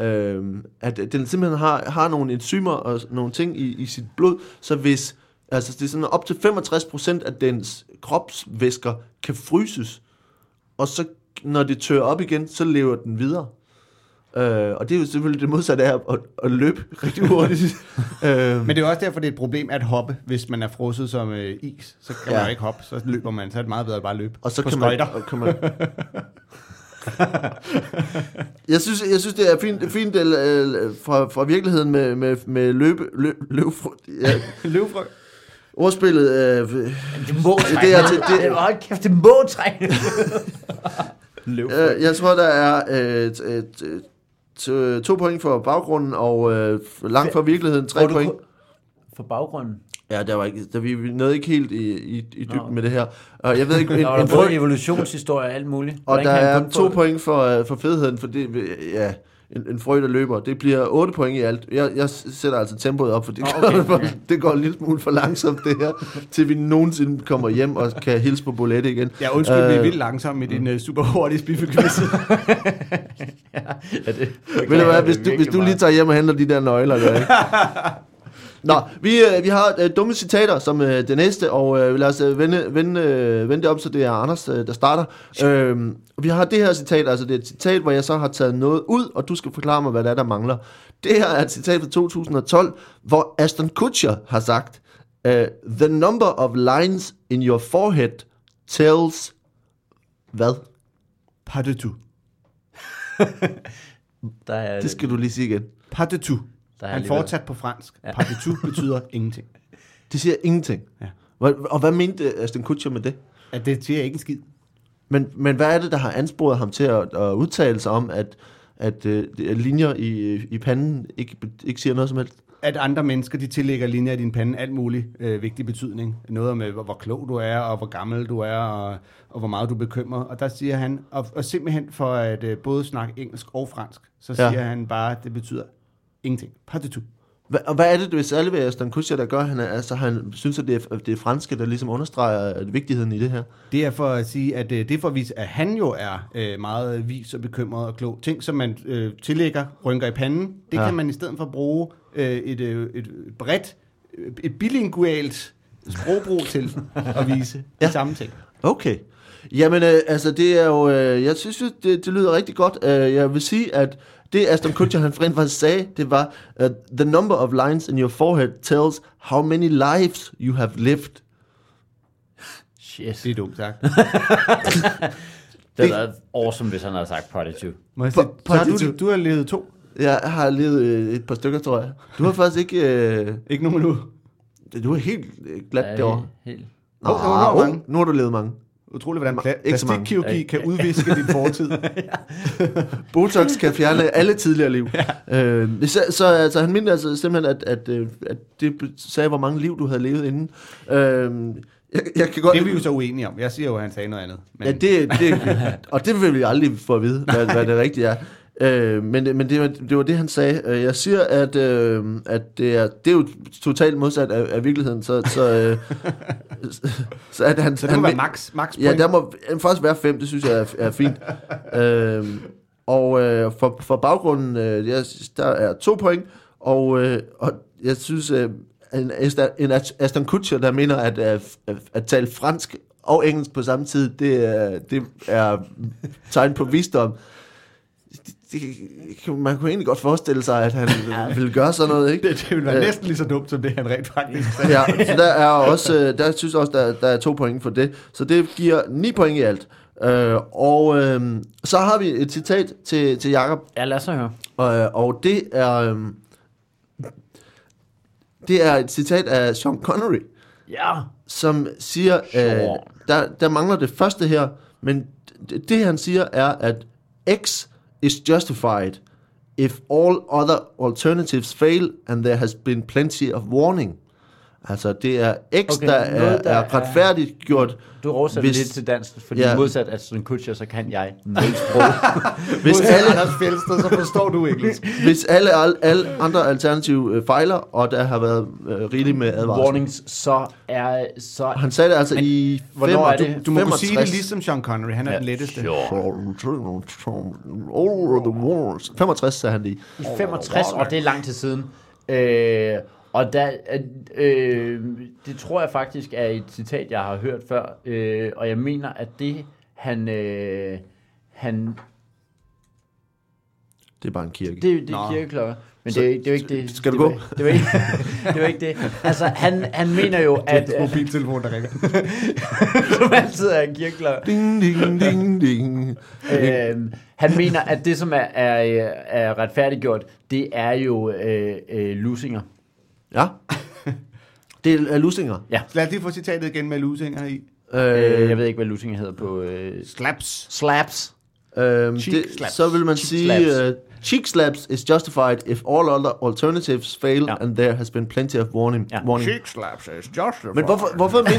Speaker 1: Øhm, at den simpelthen har, har nogle enzymer og nogle ting i, i sit blod, så hvis altså det er sådan op til 65% af dens kropsvæsker kan fryses, og så når det tør op igen, så lever den videre. Øh, og det er jo selvfølgelig det modsatte af at, at løbe rigtig hurtigt. øhm,
Speaker 2: Men det er jo også derfor, det er et problem at hoppe, hvis man er frosset som øh, is. Så kan ja.
Speaker 1: Ja.
Speaker 2: man jo ikke hoppe, så løber man. Så er det meget bedre at bare løbe
Speaker 1: Og så
Speaker 2: på
Speaker 1: kan *laughs*
Speaker 2: skøjter.
Speaker 1: man, og kan man jeg, synes, jeg synes, det er fint, fint øh, øh, fra, fra virkeligheden med, med, med løbe, løb, løbfrø. Ja,
Speaker 2: Løvfrø.
Speaker 1: ordspillet, øh,
Speaker 3: Det må trække.
Speaker 1: det er til- det-
Speaker 3: det, hold kæft, det må trække.
Speaker 1: øh, jeg tror, der er øh, t- øh, t- t- to point for baggrunden, og øh, langt fra virkeligheden tre
Speaker 3: Tror du
Speaker 1: point.
Speaker 3: kun- For baggrunden.
Speaker 1: Ja, der var ikke, der, vi vi nåede ikke helt i, i, i dybden
Speaker 3: Nå.
Speaker 1: med det her. Og jeg ved ikke, en,
Speaker 3: Der var
Speaker 1: en
Speaker 3: der både
Speaker 1: frø,
Speaker 3: evolutionshistorie og alt muligt.
Speaker 1: og
Speaker 3: Hvordan
Speaker 1: der
Speaker 3: kan han
Speaker 1: er
Speaker 3: kun
Speaker 1: to
Speaker 3: få-
Speaker 1: point for, øh, for fedheden, for det, øh, ja, en, en frø, der løber. Det bliver 8 point i alt. Jeg, jeg sætter altså tempoet op, for *laughs* det,
Speaker 3: Nå,
Speaker 1: oh, okay.
Speaker 3: okay,
Speaker 1: for,
Speaker 3: ja.
Speaker 1: det går en lille smule for langsomt, det her, til vi nogensinde kommer hjem og kan hilse på Bolette igen.
Speaker 2: Ja, undskyld, vi er
Speaker 1: Øh,
Speaker 2: vildt langsomme i din øh, super hurtige
Speaker 1: *laughs*
Speaker 2: spiffelquiz.
Speaker 3: Ja, det,
Speaker 1: Ved du hvad, hvis du, hvis du lige tager hjem og henter de der nøgler der, ikke? Nå, vi, øh, vi har øh, dumme citater som øh, det næste, og øh, lad os øh, vende, vende, øh, vende det op, så det er Anders, øh, der starter. Øh, vi har det her citat, altså det er et citat, hvor jeg så har taget noget ud, og du skal forklare mig, hvad der er, der mangler. Det her er et citat fra 2012, hvor Aston Kutcher har sagt, øh, The number of lines in your forehead tells... Hvad?
Speaker 2: Pas de tout.
Speaker 3: Der er,
Speaker 1: Det skal du lige sige igen.
Speaker 2: Pas de tout.
Speaker 3: Der er
Speaker 2: Han
Speaker 3: alligevel-
Speaker 2: fortsat på fransk. Ja. Pas de tout
Speaker 1: *laughs*
Speaker 2: betyder ingenting.
Speaker 1: Det siger ingenting.
Speaker 2: Ja.
Speaker 1: Og, og hvad mente øh, Aston Kutcher med det?
Speaker 2: At det siger ikke en skid.
Speaker 1: Men, men hvad er det, der har ansporet ham til at, at udtale sig om, at, at, øh, at linjer i, i panden ikke, ikke siger noget som helst?
Speaker 2: At andre mennesker, de tillægger linjer i din pande alt muligt øh, vigtig betydning. Noget om, øh, hvor, hvor klog du er, og hvor gammel du er, og, og hvor meget du bekymrer. Og der siger han, og, og simpelthen for at øh, både snakke engelsk og fransk, så
Speaker 1: Ja.
Speaker 2: ja. siger han bare, at det betyder ingenting. Pas de tout.
Speaker 1: Hvad, og hvad er det, hvis alle ved Aston Kutcher, der gør, han, er- altså, han synes, at det er, det er franske, der ligesom understreger øh, vigtigheden i det her?
Speaker 2: Det er for at sige, at øh, det er for at vise, at han jo er øh, meget vis og bekymret og klog. Ting, som man øh, tillægger, rynker i panden, det
Speaker 1: Ja.
Speaker 2: ja. kan man i stedet for bruge øh, et, øh, et bredt, øh, et bilingualt sprogbrug til at vise ja. de samme ting.
Speaker 1: Okay. Jamen, øh, altså, det er jo... Øh, jeg synes, jo, det, det lyder rigtig godt. Øh, jeg vil sige, at det Aston Kutcher, han rent faktisk sagde, det var, uh, the number of lines in your forehead tells how many lives you have lived.
Speaker 3: Shit.
Speaker 2: Det er dumt sagt.
Speaker 3: Det havde været awesome, hvis han havde sagt Prodigy.
Speaker 2: Må jeg
Speaker 1: På-
Speaker 2: sige, så har
Speaker 1: Prodigy.
Speaker 2: du, du har levet to.
Speaker 1: Jeg har levet øh, et par stykker, tror jeg. Du har faktisk ikke... Øh,
Speaker 2: Ikke nogen nu.
Speaker 1: du er helt øh, glat
Speaker 3: Ja,
Speaker 1: ja, derovre.
Speaker 3: helt, helt.
Speaker 1: Nå,
Speaker 2: Jo, jo, der er
Speaker 1: oh,
Speaker 2: mange.
Speaker 1: nu har du levet mange.
Speaker 2: Utroligt, hvordan
Speaker 1: Ma-
Speaker 2: pla-
Speaker 1: ikke så mange.
Speaker 2: plastikkirurgi kan udviske din fortid.
Speaker 1: Botox kan
Speaker 2: *laughs*
Speaker 1: fjerne alle tidligere liv. Ja. Øh, så, så altså, han mente altså simpelthen, at, at, øh, at det be- sagde, hvor mange liv du havde levet inden. Øh, jeg, jeg kan godt...
Speaker 2: Det er vi jo så uenige om. Jeg siger jo, at han sagde noget andet. Men
Speaker 1: Ja, det, det, og det vil vi aldrig få at
Speaker 2: *laughs*
Speaker 1: vide, hvad, hvad det rigtige er. Øh, men det- men det, var, det var det, han sagde. Øh, Jeg siger, at, øh, at det, er, det er jo totalt modsat af, af virkeligheden. Så, så,
Speaker 2: *laughs*
Speaker 1: øh, så, at han,
Speaker 2: så det
Speaker 1: han,
Speaker 2: må være max, max
Speaker 1: Ja,
Speaker 2: point.
Speaker 1: der må øh, faktisk være fem, det synes jeg er, er fint. øhm, og øh, for, for baggrunden, øh, jeg, der er to point, og, øh, og jeg synes, øh, en, Asta- en Ast- Aston Kutcher, der mener, at, øh, at, at tale fransk og engelsk på samme tid, det, er- det er tegn på visdom. Det, det, kan- man kunne egentlig godt forestille sig,
Speaker 2: *laughs*
Speaker 1: at han ville gøre sådan noget, ikke?
Speaker 2: *laughs* det, det ville være
Speaker 1: Øh.
Speaker 2: næsten lige så dumt, som det han rent faktisk sagde.
Speaker 1: Ja, så der er også, øh, der synes jeg også, der, der er to point for det. Så det giver ni point i alt. Øh, og øh, så har vi et citat til, til Jacob,
Speaker 3: Ja, lad os så høre.
Speaker 1: øh, og det er, øh, det er et citat af Sean Connery,
Speaker 3: Ja.
Speaker 1: som siger, øh, der, der mangler det første her, men det, det han siger er, at X is justified if all other alternatives fail, and there has been plenty of warning. Altså, det er X, okay,
Speaker 3: Okay,
Speaker 1: der, er,
Speaker 3: noget, der
Speaker 1: er retfærdigt gjort.
Speaker 3: Du oversætter
Speaker 1: Hvis-
Speaker 3: Hvis... lidt til dansk, fordi
Speaker 1: Ja.
Speaker 3: ja. modsat Aston Kutcher, så kan jeg nul sprog.
Speaker 1: Hvis
Speaker 2: Modsat
Speaker 1: alle,
Speaker 2: Anders Fjelsted, så forstår du engelsk.
Speaker 1: *laughs* hvis alle, alle, alle andre alternative øh, fejler, og der har været øh, rigeligt med advarsler.
Speaker 3: Warnings, så er... Så...
Speaker 1: Han sagde det altså Men, i
Speaker 3: hvornår er det?
Speaker 2: Du må kunne sige det ligesom Sean Connery. Han er ja. den letteste.
Speaker 1: Over the walls. 65 sagde han lige.
Speaker 3: I 65, og det er lang tid siden. Øh, og der, øh, øh, det tror jeg faktisk er et citat, jeg har hørt før. Øh, og jeg mener, at det, han... Øh, han
Speaker 1: Det er bare en kirke.
Speaker 3: det, det
Speaker 2: Nå.
Speaker 3: er kirkeklokker. Men
Speaker 1: Så-
Speaker 3: det, er ikke- det er jo ikke det.
Speaker 1: skal du
Speaker 3: det, var-
Speaker 1: gå?
Speaker 3: Det var, ikke, *laughs* det var ikke det. Altså, han, han mener jo, at...
Speaker 2: Hans mobiltelefon, der ringer.
Speaker 3: *laughs*
Speaker 2: *laughs*
Speaker 3: som altid er en kirkeklokker.
Speaker 1: Ding, ding, ding, ding.
Speaker 3: øhm, han mener, at det, som er, er, er retfærdiggjort, det er jo øh, øh, lusinger. *laughs*
Speaker 1: Ja. Det er lusinger.
Speaker 2: Lad os lige få citatet igen med lusinger i.
Speaker 3: Øh, jeg
Speaker 1: Øh,
Speaker 3: ved ikke, hvad lusinger hedder på... Øh,
Speaker 2: Slaps.
Speaker 3: slaps.
Speaker 1: øh,
Speaker 2: Cheek
Speaker 1: det,
Speaker 2: slaps.
Speaker 1: så vil man
Speaker 3: Cheek
Speaker 1: sige,
Speaker 3: slaps.
Speaker 1: uh, cheek slaps is justified if all other alternatives fail,
Speaker 3: Ja.
Speaker 1: and there has been plenty of warning.
Speaker 3: Ja.
Speaker 1: warning.
Speaker 2: Cheek slaps is just
Speaker 1: Men hvorfor, hvorfor
Speaker 3: *laughs*
Speaker 1: men...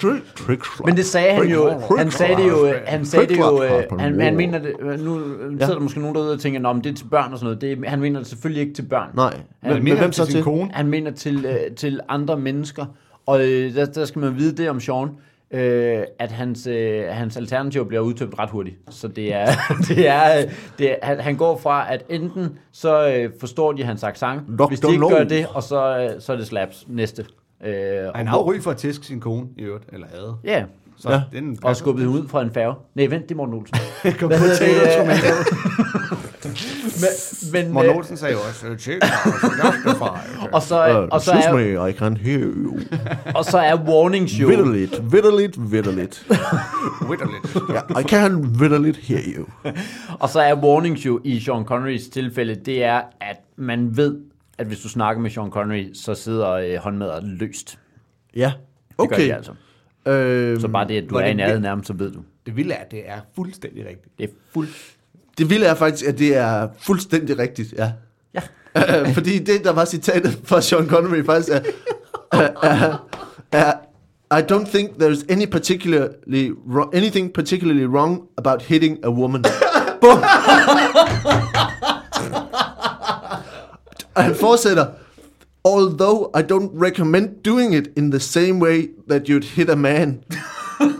Speaker 1: Trick, trick slap.
Speaker 3: Men det sagde han jo, han sagde det jo, øh, han sagde det jo, øh, han, han mener det, øh, nu øh, sidder der måske nogen derude og tænker, "Nå, men det er til børn og sådan noget, det, er- han mener det selvfølgelig ikke til børn.
Speaker 1: Nej.
Speaker 3: Han
Speaker 1: Men, men
Speaker 2: mener
Speaker 1: hvem
Speaker 2: han
Speaker 1: så
Speaker 2: sin
Speaker 1: til?
Speaker 2: kone.
Speaker 3: Han mener til, øh, til andre mennesker. Og øh, der, der skal man vide det om Sean, øh, at hans, øh, hans alternativ bliver udtømt ret hurtigt. Så det er, *laughs* det er, øh, det er han, han går fra, at enten så øh, forstår de hans accent, hvis de
Speaker 1: Dr.
Speaker 3: ikke
Speaker 1: No.
Speaker 3: gør det, og så, øh, så er det slaps næste. Øh,
Speaker 2: Han har jo ry for at tæske sin kone, i øvrigt. Eller ad.
Speaker 3: Ja,
Speaker 2: Så
Speaker 1: Ja.
Speaker 2: den
Speaker 3: og skubbet hende ud fra en færge. Nej, vent, det er
Speaker 2: *laughs*
Speaker 3: Morten Olsen.
Speaker 2: Kom
Speaker 3: Hvad
Speaker 2: på
Speaker 3: hedder det?
Speaker 2: Taylor Tomato.
Speaker 3: Men, men,
Speaker 2: Morten
Speaker 3: øh,
Speaker 2: Olsen sagde jo også, cheek slaps is *laughs* justified.
Speaker 3: og så,
Speaker 2: Øh,
Speaker 1: Uh,
Speaker 3: og, så
Speaker 1: excuse
Speaker 3: er,
Speaker 1: me, I can hear you.
Speaker 3: og så er warnings jo...
Speaker 1: Vitterligt, vitterligt, vitterligt.
Speaker 2: Witterligt.
Speaker 1: I can vitterligt hear you.
Speaker 3: Og så er warnings jo i Sean Connerys tilfælde, det er, at man ved, at hvis du snakker med Sean Connery, så sidder øh, håndmadet løst.
Speaker 1: Ja,
Speaker 3: Det gør
Speaker 1: okay.
Speaker 3: de altså.
Speaker 1: Øhm,
Speaker 3: Så bare det, at du
Speaker 2: Hvor
Speaker 3: er i
Speaker 2: Mm. det-
Speaker 3: nærheden af ham, så ved du.
Speaker 2: Det vilde er, at det er fuldstændig rigtigt.
Speaker 3: Det er fuldt.
Speaker 1: Det vilde er faktisk, at det er fuldstændig rigtigt, ja.
Speaker 3: Ja.
Speaker 1: Øh, *laughs* fordi det, der var citatet fra Sean Connery, faktisk er, er, er I don't think there's any particularly wrong, anything particularly wrong about hitting a woman. Bum. Og han fortsætter, although I don't recommend doing it in the same way that you'd hit a man.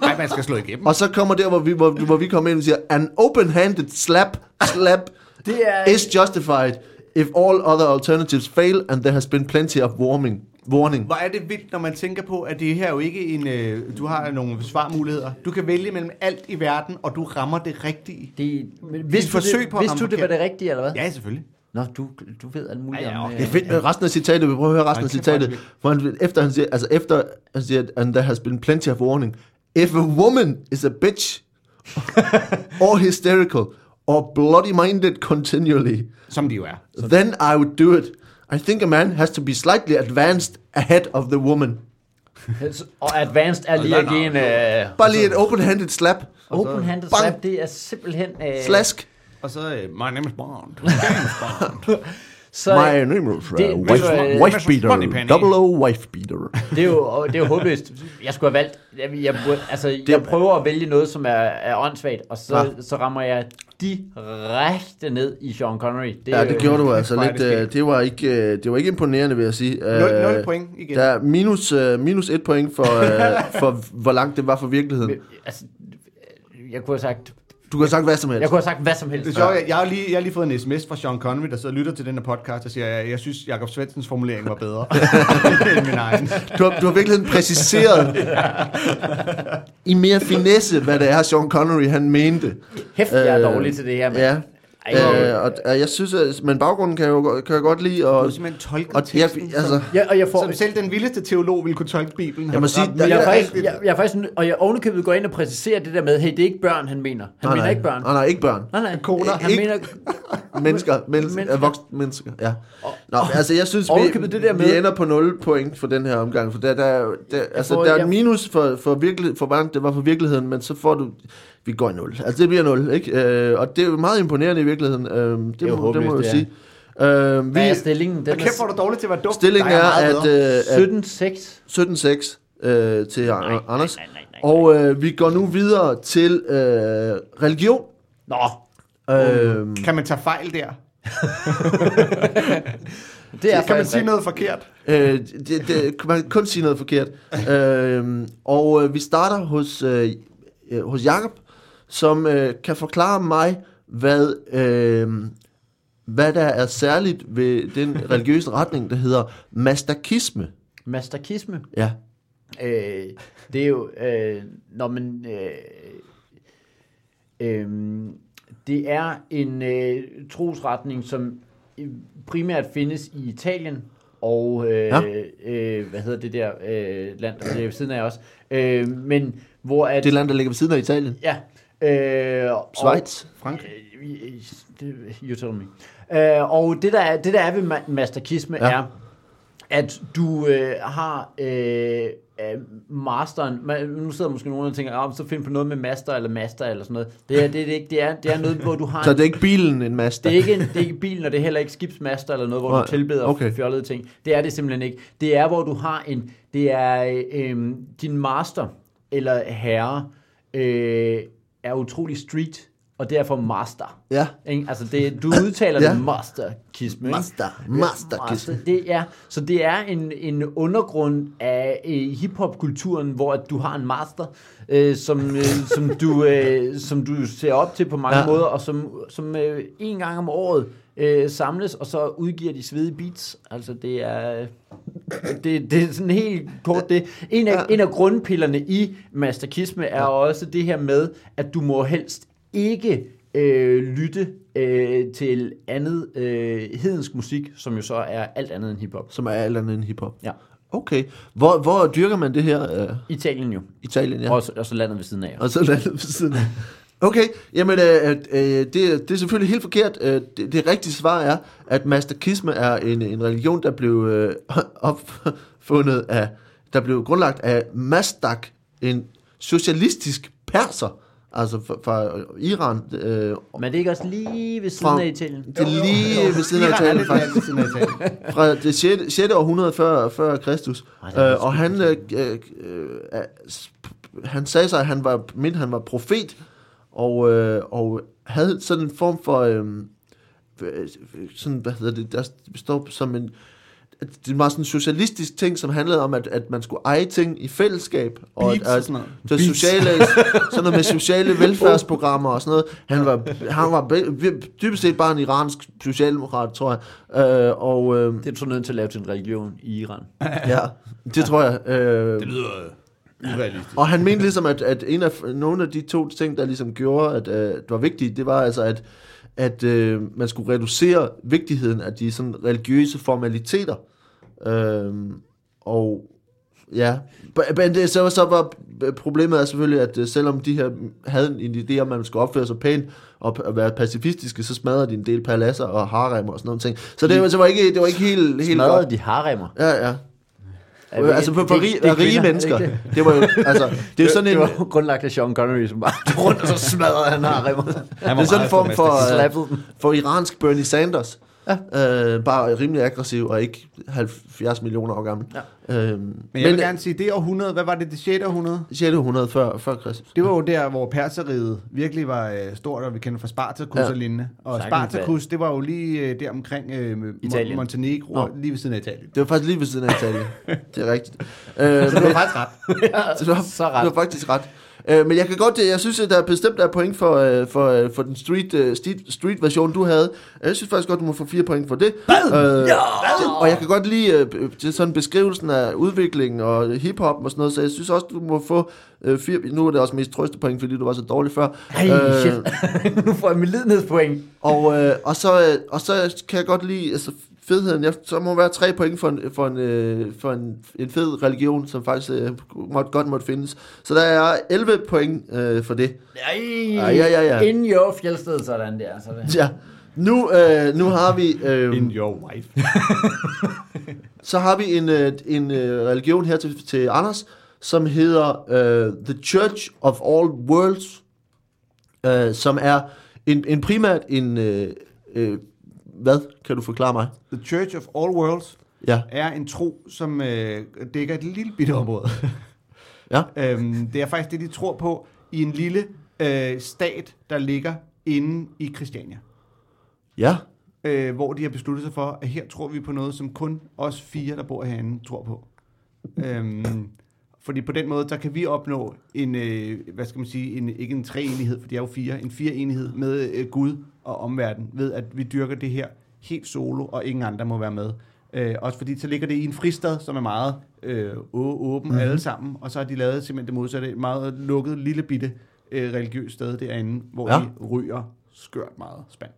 Speaker 2: Nej, man skal slå igennem.
Speaker 1: Og så kommer der, hvor vi, hvor, hvor vi kommer ind og siger, an open-handed slap,
Speaker 2: *laughs*
Speaker 1: slap,
Speaker 3: Det er...
Speaker 1: is justified if all other alternatives fail and there has been plenty of warming. warning.
Speaker 2: Hvor er det vildt, når man tænker på, at det her jo ikke en... Øh, du har nogle svarmuligheder. Du kan vælge mellem alt i verden, og du rammer det rigtige.
Speaker 3: Det, men
Speaker 2: Det er
Speaker 3: vidste
Speaker 2: et
Speaker 3: du,
Speaker 2: forsøg
Speaker 3: det,
Speaker 2: på at
Speaker 3: vidste
Speaker 2: ramme
Speaker 3: du det var
Speaker 2: forkert.
Speaker 3: det rigtige, eller hvad?
Speaker 2: Ja, selvfølgelig.
Speaker 3: Nå, du, du ved alt muligt
Speaker 2: Ja, ja,
Speaker 3: om...
Speaker 2: okay.
Speaker 3: Øh,
Speaker 1: Jeg ved, øh, resten af citatet, vi prøver at høre resten af
Speaker 2: Nej, det er
Speaker 1: citatet, hvor han, efter han siger,
Speaker 2: *laughs*
Speaker 1: altså efter han siger, and there has been plenty of warning, if a woman is a bitch, or hysterical or bloody minded continually,
Speaker 2: Som de jo er.
Speaker 1: then I would do it. I think a man has to be slightly advanced ahead of the woman.
Speaker 3: Og advanced er lige at give en øh,
Speaker 1: Bare lige et open-handed slap.
Speaker 3: open-handed
Speaker 1: Bang.
Speaker 3: slap. Det er simpelthen... Øh,
Speaker 1: Slask.
Speaker 2: Og så, øh, *laughs* my name is Bond. James Bond.
Speaker 3: så,
Speaker 1: My name is
Speaker 3: det-
Speaker 1: uh,
Speaker 3: ved du
Speaker 1: wife,
Speaker 3: hvad,
Speaker 1: wife Beater.
Speaker 2: Moneypenny.
Speaker 1: Double O Wife Beater.
Speaker 3: Det er jo, og det er jo håbløst. Jeg skulle have valgt... Jeg, jeg, burde- altså, jeg prøver at vælge noget, som er, er åndssvagt, og så,
Speaker 1: Ja.
Speaker 3: så rammer jeg direkte ned i Sean Connery. Det, er
Speaker 1: Ja, det
Speaker 3: jo-
Speaker 1: gjorde du altså lidt.
Speaker 2: det
Speaker 1: Øh, det, var ikke, øh, det var ikke imponerende, vil jeg sige.
Speaker 2: Nul-
Speaker 1: Øh,
Speaker 2: nul point igen.
Speaker 1: Der er minus, øh, minus et point for,
Speaker 2: *laughs*
Speaker 1: øh, for, hvor langt det var fra virkeligheden.
Speaker 3: Altså, jeg kunne have sagt...
Speaker 1: Du kan have sagt hvad som helst.
Speaker 3: Jeg kunne have sagt hvad som helst.
Speaker 2: Det er sjovt, jeg, jeg, har lige, jeg har lige fået en sms fra Sean Connery, der sidder og lytter til den her podcast, og siger, at jeg synes, Jakob Svendsens formulering var bedre *laughs* end min egen.
Speaker 1: Du har, du har virkelig
Speaker 2: *laughs*
Speaker 1: præciseret i mere finesse, hvad det er, Sean Connery han mente.
Speaker 3: Hæft, jeg er
Speaker 1: Øh,
Speaker 3: dårlig til det her, mand.
Speaker 1: Ja.
Speaker 3: Ej,
Speaker 1: Øh, og, og jeg synes, at, men baggrunden kan jeg jo godt- kan jeg godt lide.
Speaker 2: Du
Speaker 1: Og,
Speaker 2: har simpelthen tolket
Speaker 1: og jeg,
Speaker 2: teksten,
Speaker 1: altså,
Speaker 3: Ja, og jeg får...
Speaker 2: som, som selv den vildeste teolog ville kunne tolke Bibelen. Har
Speaker 1: må
Speaker 2: du
Speaker 1: sige,
Speaker 2: ret?
Speaker 1: der-
Speaker 3: Men jeg, er
Speaker 1: Ja,
Speaker 3: faktisk, jeg, jeg er faktisk, nø- og jeg ovenikøbet går ind og præciserer det der med, hey, det er ikke børn, han mener. Han
Speaker 1: nej,
Speaker 3: mener
Speaker 1: nej,
Speaker 3: ikke børn.
Speaker 1: Nej, nej, ikke
Speaker 3: *laughs*
Speaker 1: børn.
Speaker 3: Nej, nej.
Speaker 1: Koner.
Speaker 3: Han
Speaker 1: Ikke-
Speaker 3: mener,
Speaker 1: Mennesker, mennesker,
Speaker 3: Mennesker.
Speaker 1: øh, voksne mennesker, ja. Nå, altså jeg synes, vi,
Speaker 3: Ovenikøbet det der
Speaker 1: vi
Speaker 3: med-
Speaker 1: ender på 0 point for den her omgang, for der, der, der, altså,
Speaker 3: får-
Speaker 1: der er
Speaker 3: jeg-
Speaker 1: en minus for, for, virkelig, for hvordan det var for virkeligheden, men så får du, vi går i 0, altså det bliver 0, ikke? Øh, og det er jo meget imponerende i virkeligheden, øh, det,
Speaker 3: er
Speaker 1: det,
Speaker 3: jo
Speaker 1: må, det må jeg
Speaker 3: håbløst,
Speaker 1: jo sige. Øh, vi,
Speaker 3: hvad er stillingen? Den
Speaker 2: Og kæft, hvor er du dårlig til at være dum.
Speaker 1: stillingen
Speaker 2: Der
Speaker 1: er,
Speaker 2: meget
Speaker 1: at,
Speaker 2: bedre.
Speaker 1: øh, at
Speaker 3: 17-6.
Speaker 1: 17-6 øh, til
Speaker 3: Nej, nej,
Speaker 1: Anders,
Speaker 3: nej, nej, nej.
Speaker 1: og øh, vi går nu videre til øh, religion.
Speaker 3: Nå, Mm.
Speaker 1: Øh,
Speaker 2: Kan man tage fejl der?
Speaker 3: det er
Speaker 2: Kan man
Speaker 3: faktisk
Speaker 2: sige
Speaker 3: rigtigt.
Speaker 2: noget forkert?
Speaker 1: Øh, det, det, man kan kun sige noget forkert. Øh, og øh, vi starter hos, øh, øh, hos Jakob, som øh, kan forklare mig, hvad, øh, hvad der er særligt ved den religiøse retning, der hedder mastakisme.
Speaker 3: Mastakisme.
Speaker 1: Ja.
Speaker 3: Øh, det er jo, øh, når man, øh, øh, det er en øh, trosretning, som øh, primært findes i Italien, og øh,
Speaker 1: Ja.
Speaker 3: ja. øh, hvad hedder det der øh, land, der ligger ved siden af os, øh, men hvor at,
Speaker 1: Det land, der ligger ved siden af Italien.
Speaker 3: ja, øh, og-
Speaker 1: Schweiz.
Speaker 2: Frankrig?
Speaker 3: Øh, det- You tell me. Øh, og det der, er, det der er ved ma- mastakisme
Speaker 1: Ja.
Speaker 3: ja. er, at du øh, har øh, øh, masteren, man, nu sidder måske nogen og tænker, ah, så find på noget med master eller master eller sådan noget. Det er det, er det ikke, det er, det er noget, hvor du
Speaker 1: *laughs*
Speaker 3: har
Speaker 1: Så
Speaker 3: en
Speaker 1: det er ikke bilen, en
Speaker 3: det
Speaker 1: masta.
Speaker 3: er, ikke en, Altså, det er ikke bilen, og det er heller ikke skibsmaster eller noget, hvor
Speaker 1: Nej,
Speaker 3: du tilbeder
Speaker 1: okay.
Speaker 3: okay. fjollede ting. Det er det simpelthen ikke. Det er, hvor du har en... Det er øh, din master eller herre øh, er utrolig street, og derfor master.
Speaker 1: Ja.
Speaker 3: Ikke? Altså, det, du udtaler
Speaker 1: Ja.
Speaker 3: det master kisme.
Speaker 1: Master. Mastakisme.
Speaker 3: altså, Det er, så det er en, en undergrund af øh, hiphop-kulturen, hvor at du har en master, øh, som, øh, som, du, øh, som du ser op til på mange
Speaker 1: Ja.
Speaker 3: ja. måder, og som, som øh, en gang om året øh, samles, og så udgiver de svedige beats. Altså, det er... Det, det er sådan helt kort det. En af, ja. en af grundpillerne i mastakisme er ja. også det her med, at du må helst ikke øh, lytte øh, til andet øh, hedensk musik, som jo så er alt andet end hiphop.
Speaker 1: Som er alt andet end hiphop.
Speaker 3: Ja.
Speaker 1: Okay. Hvor, hvor dyrker man det her? Øh,
Speaker 3: Italien jo.
Speaker 1: Italien, ja.
Speaker 3: Ja. Også, også landet ved siden af.
Speaker 1: Og så landet ved siden af. Okay, jamen øh, øh, øh, det, det er selvfølgelig helt forkert. Øh, det, det rigtige svar er, at mastakisme er en, en religion, der blev øh, *laughs* opfundet af, der blev grundlagt af Mastak, en socialistisk perser, altså fra, fra Iran. Øh,
Speaker 3: Men det er ikke også lige ved siden
Speaker 1: Fra-
Speaker 3: af Italien?
Speaker 1: det er lige ved siden af
Speaker 2: Iran er
Speaker 1: Italien,
Speaker 2: lidt mere
Speaker 1: faktisk
Speaker 2: ved siden af Italien.
Speaker 1: fra det 6. 6. århundrede før, før Kristus.
Speaker 3: Ej, det er
Speaker 1: Øh, og han, øh, øh, øh, s- han sagde sig, at han var, mindte, han var profet, og, øh, og havde sådan en form for, øh, øh, sådan, hvad hedder det, der består som en, det var sådan en socialistisk ting, som handlede om, at, at man skulle eje ting i fællesskab. Og
Speaker 2: Beats
Speaker 1: at,
Speaker 2: og
Speaker 1: at,
Speaker 2: sådan noget.
Speaker 1: det sociale, sådan noget med sociale velfærdsprogrammer og sådan noget. Han var, han var be- vi- dybest set bare en iransk socialdemokrat, tror jeg. Øh, og øh,
Speaker 3: Det er du så nødt til at lave til en religion i Iran.
Speaker 1: ja, det tror jeg. Øh,
Speaker 2: Det lyder øh, urealistisk.
Speaker 1: og han mente ligesom, at, at en af, nogle af de to ting, der ligesom gjorde, at øh, det var vigtigt, det var altså, at, at øh, man skulle reducere vigtigheden af de sådan religiøse formaliteter. Øh, Øhm, og Ja, B- men det, så, så var problemet er selvfølgelig, at øh, selvom de her havde en idé om, at man skulle opføre sig pænt og p- og være pacifistiske, så smadrede de en del paladser og harem og sådan noget ting. Så det, var- så var ikke, det var ikke helt, helt godt.
Speaker 3: Smadrede de haremmer.
Speaker 1: Ja, ja.
Speaker 3: Er det-
Speaker 1: altså for, for
Speaker 3: det-
Speaker 1: rige,
Speaker 3: det er
Speaker 1: rige
Speaker 3: kvinder,
Speaker 1: mennesker.
Speaker 3: er det
Speaker 1: Det,
Speaker 3: ikke
Speaker 1: var jo, altså, det er jo sådan
Speaker 3: det
Speaker 1: en...
Speaker 3: var grundlagt af Sean Connery, som bare tog rundt, og så smadrede han haremmer.
Speaker 1: Det er sådan en form for, øh,
Speaker 3: Slappede dem.
Speaker 1: for iransk Bernie Sanders. Ja. Øh, bare rimelig aggressiv og ikke 70 millioner år gammel. Ja. Øhm, men
Speaker 2: Men jeg vil gerne sige, det århundrede, hvad var det, det 6. århundrede?
Speaker 1: 600 før, før Kristus.
Speaker 2: Det var jo der, hvor perseriet virkelig var øh, stort, og vi kender fra Spartacus
Speaker 1: Ja.
Speaker 2: ja. og lignende. Og
Speaker 3: Sagtens
Speaker 2: Spartacus, det var jo lige øh, der omkring øh, Mon-
Speaker 3: Italien.
Speaker 2: Montenegro,
Speaker 1: Nå.
Speaker 2: Nå. lige ved siden af Italien.
Speaker 1: Det var faktisk lige ved siden af
Speaker 2: *laughs*
Speaker 1: Italien. det er rigtigt. Øh,
Speaker 2: Så du har faktisk ret.
Speaker 1: *laughs* det var,
Speaker 3: Så ret.
Speaker 1: Det var faktisk ret. Øh, men jeg kan godt, jeg synes, at der er bestemt er point for, øh, for, øh, for den street, øh, street, street version, du havde. Øh, Jeg synes faktisk godt, du må få fire point for det. Øh, og jeg kan godt lide øh, øh, til sådan beskrivelsen af udviklingen og hiphop og sådan noget, så jeg synes også, du må få øh, fire, nu er det også mest trøstepoint, fordi du var så dårlig før.
Speaker 3: Ej,
Speaker 1: Øh,
Speaker 3: shit. *laughs* nu får jeg min lidenhedspoint.
Speaker 1: Og, øh, og, så, øh, og så kan jeg godt lide altså, fedheden. Jeg, så må være tre point for en, for en, øh, for en, en fed religion, som faktisk øh, måtte, godt måtte findes. Så der er 11 point øh, for det.
Speaker 3: Ej,
Speaker 1: Ej, ja, ja, ja.
Speaker 3: In your fjeldsted, sådan der. Sådan.
Speaker 1: Ja. Nu, øh, nu har vi øh,
Speaker 2: In your wife.
Speaker 1: så har vi en, øh, en øh, religion her til, til Anders, som hedder øh, The Church of All Worlds, øh, som er en, en primært en øh, øh, hvad kan du forklare mig?
Speaker 2: The Church of All Worlds
Speaker 1: Ja.
Speaker 2: er en tro, som øh, dækker et lille bitte område. *laughs*
Speaker 1: Ja.
Speaker 2: øhm, det er faktisk det, de tror på i en lille øh, stat, der ligger inde i Christiania.
Speaker 1: Ja.
Speaker 2: øh, hvor de har besluttet sig for, at her tror vi på noget, som kun os fire, der bor herinde, tror på. øhm, fordi på den måde, der kan vi opnå en, øh, hvad skal man sige, en, ikke en treenighed, for de er jo fire, en fireenighed med øh, Gud og omverden, ved at vi dyrker det her helt solo, og ingen andre må være med. Øh, også fordi så ligger det i en fristad, som er meget øh, å- åben mm-hmm. alle sammen, og så har de lavet simpelthen det modsatte, et meget lukket, lille bitte øh, religiøst sted derinde, hvor
Speaker 1: Ja.
Speaker 2: ja. de ryger skørt meget spand.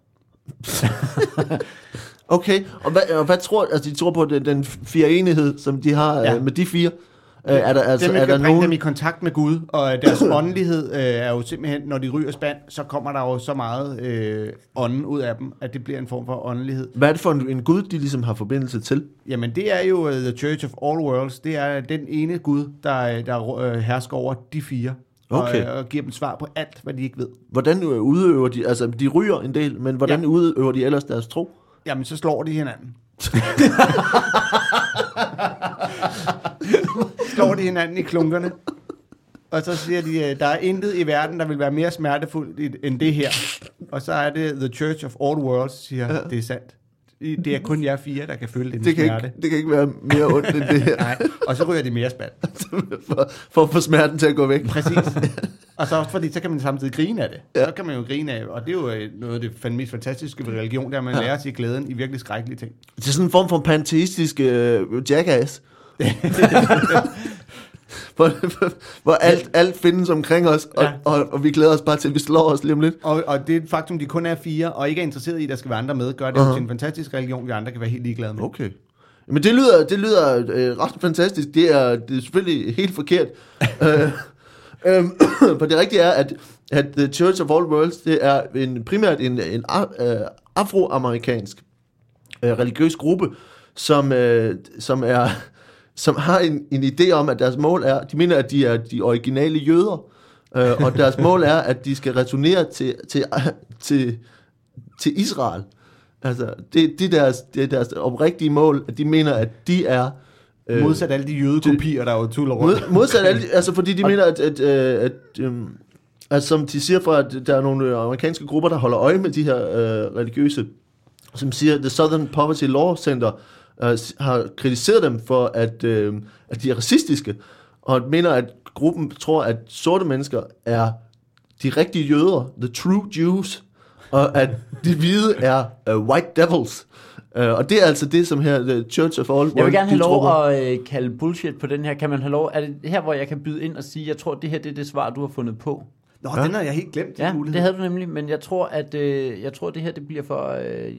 Speaker 1: Okay, og hvad, og hvad tror altså, de tror på den, den fire enighed, som de har ja.
Speaker 2: Ja.
Speaker 1: øh, med de fire? Øh, er der, altså,
Speaker 2: dem,
Speaker 1: er
Speaker 2: kan
Speaker 1: der
Speaker 2: bringe
Speaker 1: nogen...
Speaker 2: dem i kontakt med Gud, og
Speaker 1: *coughs*
Speaker 2: øh, deres åndelighed øh, er jo simpelthen, når de ryger spand, så kommer der jo så meget øh, ånden ud af dem, at det bliver en form for åndelighed.
Speaker 1: Hvad er det for en, en gud, de ligesom har forbindelse til?
Speaker 2: Jamen det er jo øh, The Church of All Worlds, det er den ene Gud, der, øh, der øh, hersker over de fire,
Speaker 1: Okay.
Speaker 2: og, øh, og giver dem svar på alt, hvad de ikke ved.
Speaker 1: Hvordan øh, udøver de... Altså, de ryger en del, men hvordan ja.
Speaker 2: Ja.
Speaker 1: udøver de ellers deres tro?
Speaker 2: Jamen så slår de *laughs* hinanden. slår de hinanden i klunkerne. Og så siger de, øh, der er intet i verden, der vil være mere smertefuldt i- end det her. Og så er det The Church of All Worlds, siger, ja. det er sandt. I- Det er kun jer fire, der kan føle den
Speaker 1: Det kan,
Speaker 2: smerte.
Speaker 1: ikke, det kan ikke være mere ondt end det her,
Speaker 2: *laughs* Nej, og så ryger de mere spand.
Speaker 1: *laughs* for, for at få smerten til at gå væk.
Speaker 2: Præcis. Og så også fordi, så kan man samtidig grine af det. Ja. Så kan man jo grine af, og det er jo øh, noget af det fandme mest fantastiske ved religion, der man ja. lærer sig glæden i virkelig skrækkelige ting.
Speaker 1: Det er sådan en form for panteistisk øh,
Speaker 2: *laughs*
Speaker 1: jackass. *laughs* hvor, hvor alt, alt findes omkring os, og, ja.
Speaker 2: Ja.
Speaker 1: og, og vi glæder os bare til, at vi slår os lige om lidt.
Speaker 2: Og, og det faktum, de kun er fire, og ikke er interesseret i, at der skal være andre med, gør det uh-huh. til en fantastisk religion, vi andre kan være helt ligeglade med.
Speaker 1: Okay. Men det lyder, det lyder øh, ret fantastisk. Det er, det er selvfølgelig helt forkert. øh, øhm, *clears throat* for det rigtige er, at, at The Church of All Worlds, det er en, primært en, en a- øh, afroamerikansk øh, religiøs gruppe, som, øh, som, er, *laughs* som har en, en idé om, at deres mål er, de mener, at de er de originale jøder, øh, og deres mål er, at de skal returnere til, til, *laughs* til, til Israel. Altså, det, det, er deres, det er deres oprigtige mål, at de mener, at de er...
Speaker 2: Øh, Modsat alle de jødekopier, der er jo tuller rundt.
Speaker 1: Mod, modsat
Speaker 3: *laughs*
Speaker 1: alle, de- altså fordi de mener, at, at, øh, at, øh, at som de siger fra, at der er nogle øh, amerikanske grupper, der holder øje med de her øh, religiøse, som siger, at The Southern Poverty Law Center øh, s- har kritiseret dem for, at, øh, at de er racistiske, og mener, at gruppen tror, at sorte mennesker er de rigtige jøder, the true Jews, og at de hvide er uh, white devils. Uh, og det er altså det, som her The Church of All
Speaker 3: Jeg vil
Speaker 1: World,
Speaker 3: gerne
Speaker 1: de
Speaker 3: have
Speaker 1: tror på.
Speaker 3: lov at øh, kalde bullshit på den her. Kan man have lov? Er det her, hvor jeg kan byde ind og sige, jeg tror, det her det er det svar, du har fundet på?
Speaker 2: *laughs* Nå, ja. den har jeg helt glemt, den
Speaker 3: Ja,
Speaker 2: mulighed.
Speaker 3: det havde du nemlig, men jeg tror, at øh, jeg tror, det her det bliver for... Øh,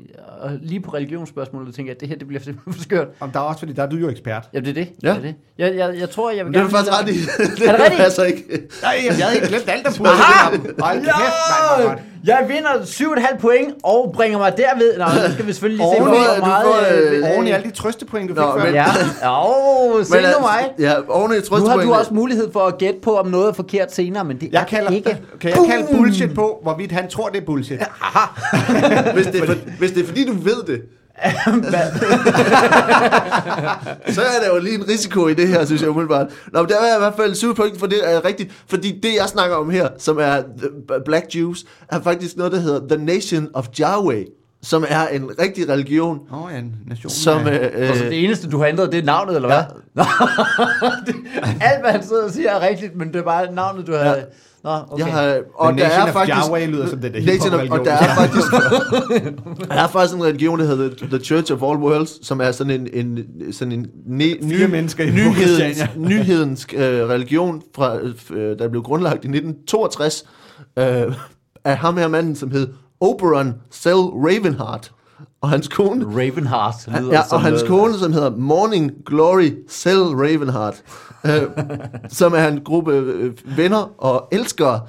Speaker 3: og lige på religionsspørgsmålet tænker jeg, at det her det bliver simpelthen for *laughs* skørt.
Speaker 2: Om der er også, fordi der er du jo ekspert.
Speaker 3: Jamen, det er det.
Speaker 1: Ja.
Speaker 3: Det er det. Jeg, jeg, jeg tror, jeg vil
Speaker 1: Men det er du faktisk ret i.
Speaker 3: *laughs*
Speaker 1: det
Speaker 3: Er det rigtigt?
Speaker 1: Altså ikke.
Speaker 2: Nej, jeg havde ikke glemt alt, der burde have været ham. Hold kæft, mand, hvor godt.
Speaker 3: Jeg vinder 7,5 point og bringer mig derved. Nå, nu skal vi selvfølgelig lige se,
Speaker 1: Oven i-
Speaker 3: hvor
Speaker 1: du
Speaker 3: meget...
Speaker 1: får, øh,
Speaker 3: øh,
Speaker 2: Oven i alle de trøstepoint, du
Speaker 1: Nå,
Speaker 2: fik før.
Speaker 1: men-
Speaker 3: *laughs* Ja, oh, se
Speaker 1: Men
Speaker 3: nu
Speaker 1: altså,
Speaker 3: mig.
Speaker 1: Ja, oven i
Speaker 3: Nu har du
Speaker 1: trøstpoengene.
Speaker 3: *laughs* også mulighed for at gætte på, om noget er forkert senere, men det
Speaker 2: Jeg
Speaker 3: er
Speaker 2: kalder,
Speaker 3: det ikke.
Speaker 2: kan jeg kalde bullshit på, hvorvidt han tror, det er bullshit.
Speaker 1: Hvis det, er for, hvis det er fordi, du ved
Speaker 3: *laughs*
Speaker 1: det, så er der jo lige en risiko i det her, synes jeg umiddelbart. Nå, men der er i hvert fald 7 point for det er rigtigt, fordi det, jeg snakker om her, som er øh, Black Jews, er faktisk noget, der hedder The Nation of Yahweh, som er en rigtig religion,
Speaker 2: Åh, oh, ja, nationen.
Speaker 1: som...
Speaker 2: er-
Speaker 1: Øh,
Speaker 3: Altså,
Speaker 1: øh,
Speaker 3: det eneste, du har ændret, det er navnet, eller hvad? *laughs* Ja. Alt, hvad han sidder og siger, er rigtigt, men det er bare navnet, du har...
Speaker 1: Ja.
Speaker 3: Nå, okay.
Speaker 1: Jeg har, og
Speaker 2: The
Speaker 1: der
Speaker 2: Nation
Speaker 1: er
Speaker 2: of
Speaker 1: faktisk,
Speaker 2: Yahweh lyder som den der
Speaker 1: Nation of,
Speaker 2: hiphop-religion.
Speaker 1: og der
Speaker 2: *laughs*
Speaker 1: er faktisk, der er faktisk en religion, der hedder The Church of All Worlds, som er sådan en, en, sådan en ne,
Speaker 2: Fire mennesker i
Speaker 1: nyhedens,
Speaker 2: Christiania.
Speaker 1: *laughs* nyhedensk øh, religion, fra, øh, der blev grundlagt i 1962 øh, af ham her manden, som hed Oberon Sel Ravenheart, og hans kone.
Speaker 3: Ravenheart lyder
Speaker 1: Ja,
Speaker 3: som
Speaker 1: og hans
Speaker 3: noget-
Speaker 1: kone, som hedder Morning Glory Cell Ravenheart,
Speaker 3: *laughs*
Speaker 1: øh, som er en gruppe øh, venner og elskere,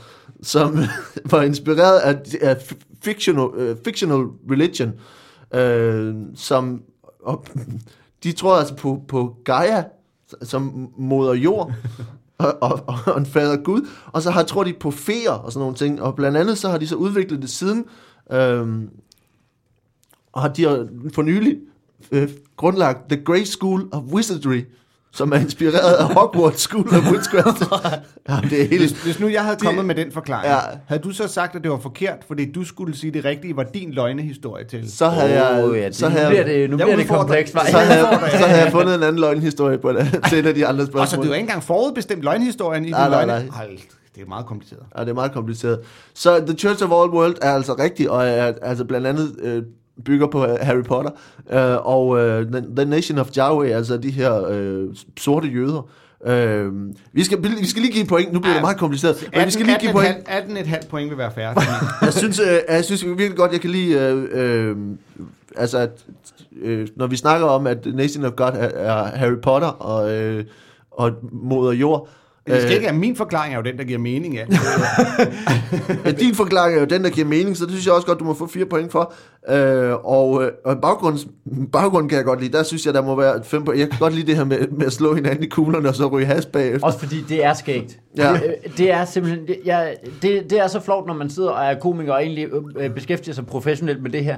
Speaker 1: som øh, var inspireret af, af f- fictional, øh, fictional religion, øh, som og, de tror altså på, på Gaia, som moder jord, og, og, og en fader Gud, og så har, tror de på feer og sådan nogle ting, og blandt andet så har de så udviklet det siden, øhm, og har de har for nylig øh, grundlagt The Grey School of Wizardry, som er inspireret af Hogwarts School of Witchcraft.
Speaker 3: *laughs*
Speaker 1: ja, det er helt...
Speaker 2: Hvis nu jeg havde kommet med den forklaring,
Speaker 1: Ja.
Speaker 2: ja. havde du så sagt, at det var forkert, fordi du skulle sige det rigtige, var din løgnehistorie til?
Speaker 1: Så havde jeg...
Speaker 3: Åh, ja, det,
Speaker 1: så
Speaker 3: nu
Speaker 1: havde,
Speaker 3: bliver det, nu
Speaker 2: Jeg
Speaker 3: bliver det
Speaker 2: udfordrer-
Speaker 3: komplekst, var
Speaker 1: så, havde,
Speaker 3: *laughs*
Speaker 1: så havde jeg fundet en anden løgnhistorie på det, til et af de andre spørgsmål.
Speaker 2: Og så du jo ikke engang forudbestemt løgnhistorien i din
Speaker 1: Nej, nej,
Speaker 2: løgne.
Speaker 1: nej.
Speaker 2: Hold, det er meget kompliceret.
Speaker 1: Ja, det er meget kompliceret. Så The Church of All World er altså rigtig, og er, altså blandt andet øh, bygger på øh, Harry Potter, øh, og øh, The, The Nation of Yahweh, altså de her øh, sorte jøder. Øh, vi, skal, vi skal lige give point, nu bliver det
Speaker 2: Ja.
Speaker 1: meget kompliceret, men
Speaker 2: 18,
Speaker 1: vi skal lige give point.
Speaker 2: 18, 18,5 point vil være færre.
Speaker 1: *laughs* Jeg synes, øh, jeg synes virkelig godt, jeg kan lide, øh, øh, altså at, øh, når vi snakker om, at The Nation of God er, er Harry Potter og, øh, og moder jord.
Speaker 2: Men det skal
Speaker 1: øh,
Speaker 2: ikke, at min forklaring er jo den, der giver mening. Ja.
Speaker 1: Ja, din forklaring er jo den, der giver mening, så det synes jeg også godt, du må få fire point for. Øh, og øh, og baggrunds, baggrunden kan jeg godt lide. Der synes jeg, der må være fem point. Jeg kan godt lide det her med, med at slå hinanden i kuglerne og så ryge has bagefter.
Speaker 3: Også fordi det er skægt.
Speaker 1: Ja.
Speaker 3: Ja. Det er simpelthen, det, jeg, det, det er så flot, når man sidder og er komiker og egentlig øh, beskæftiger sig professionelt med det her.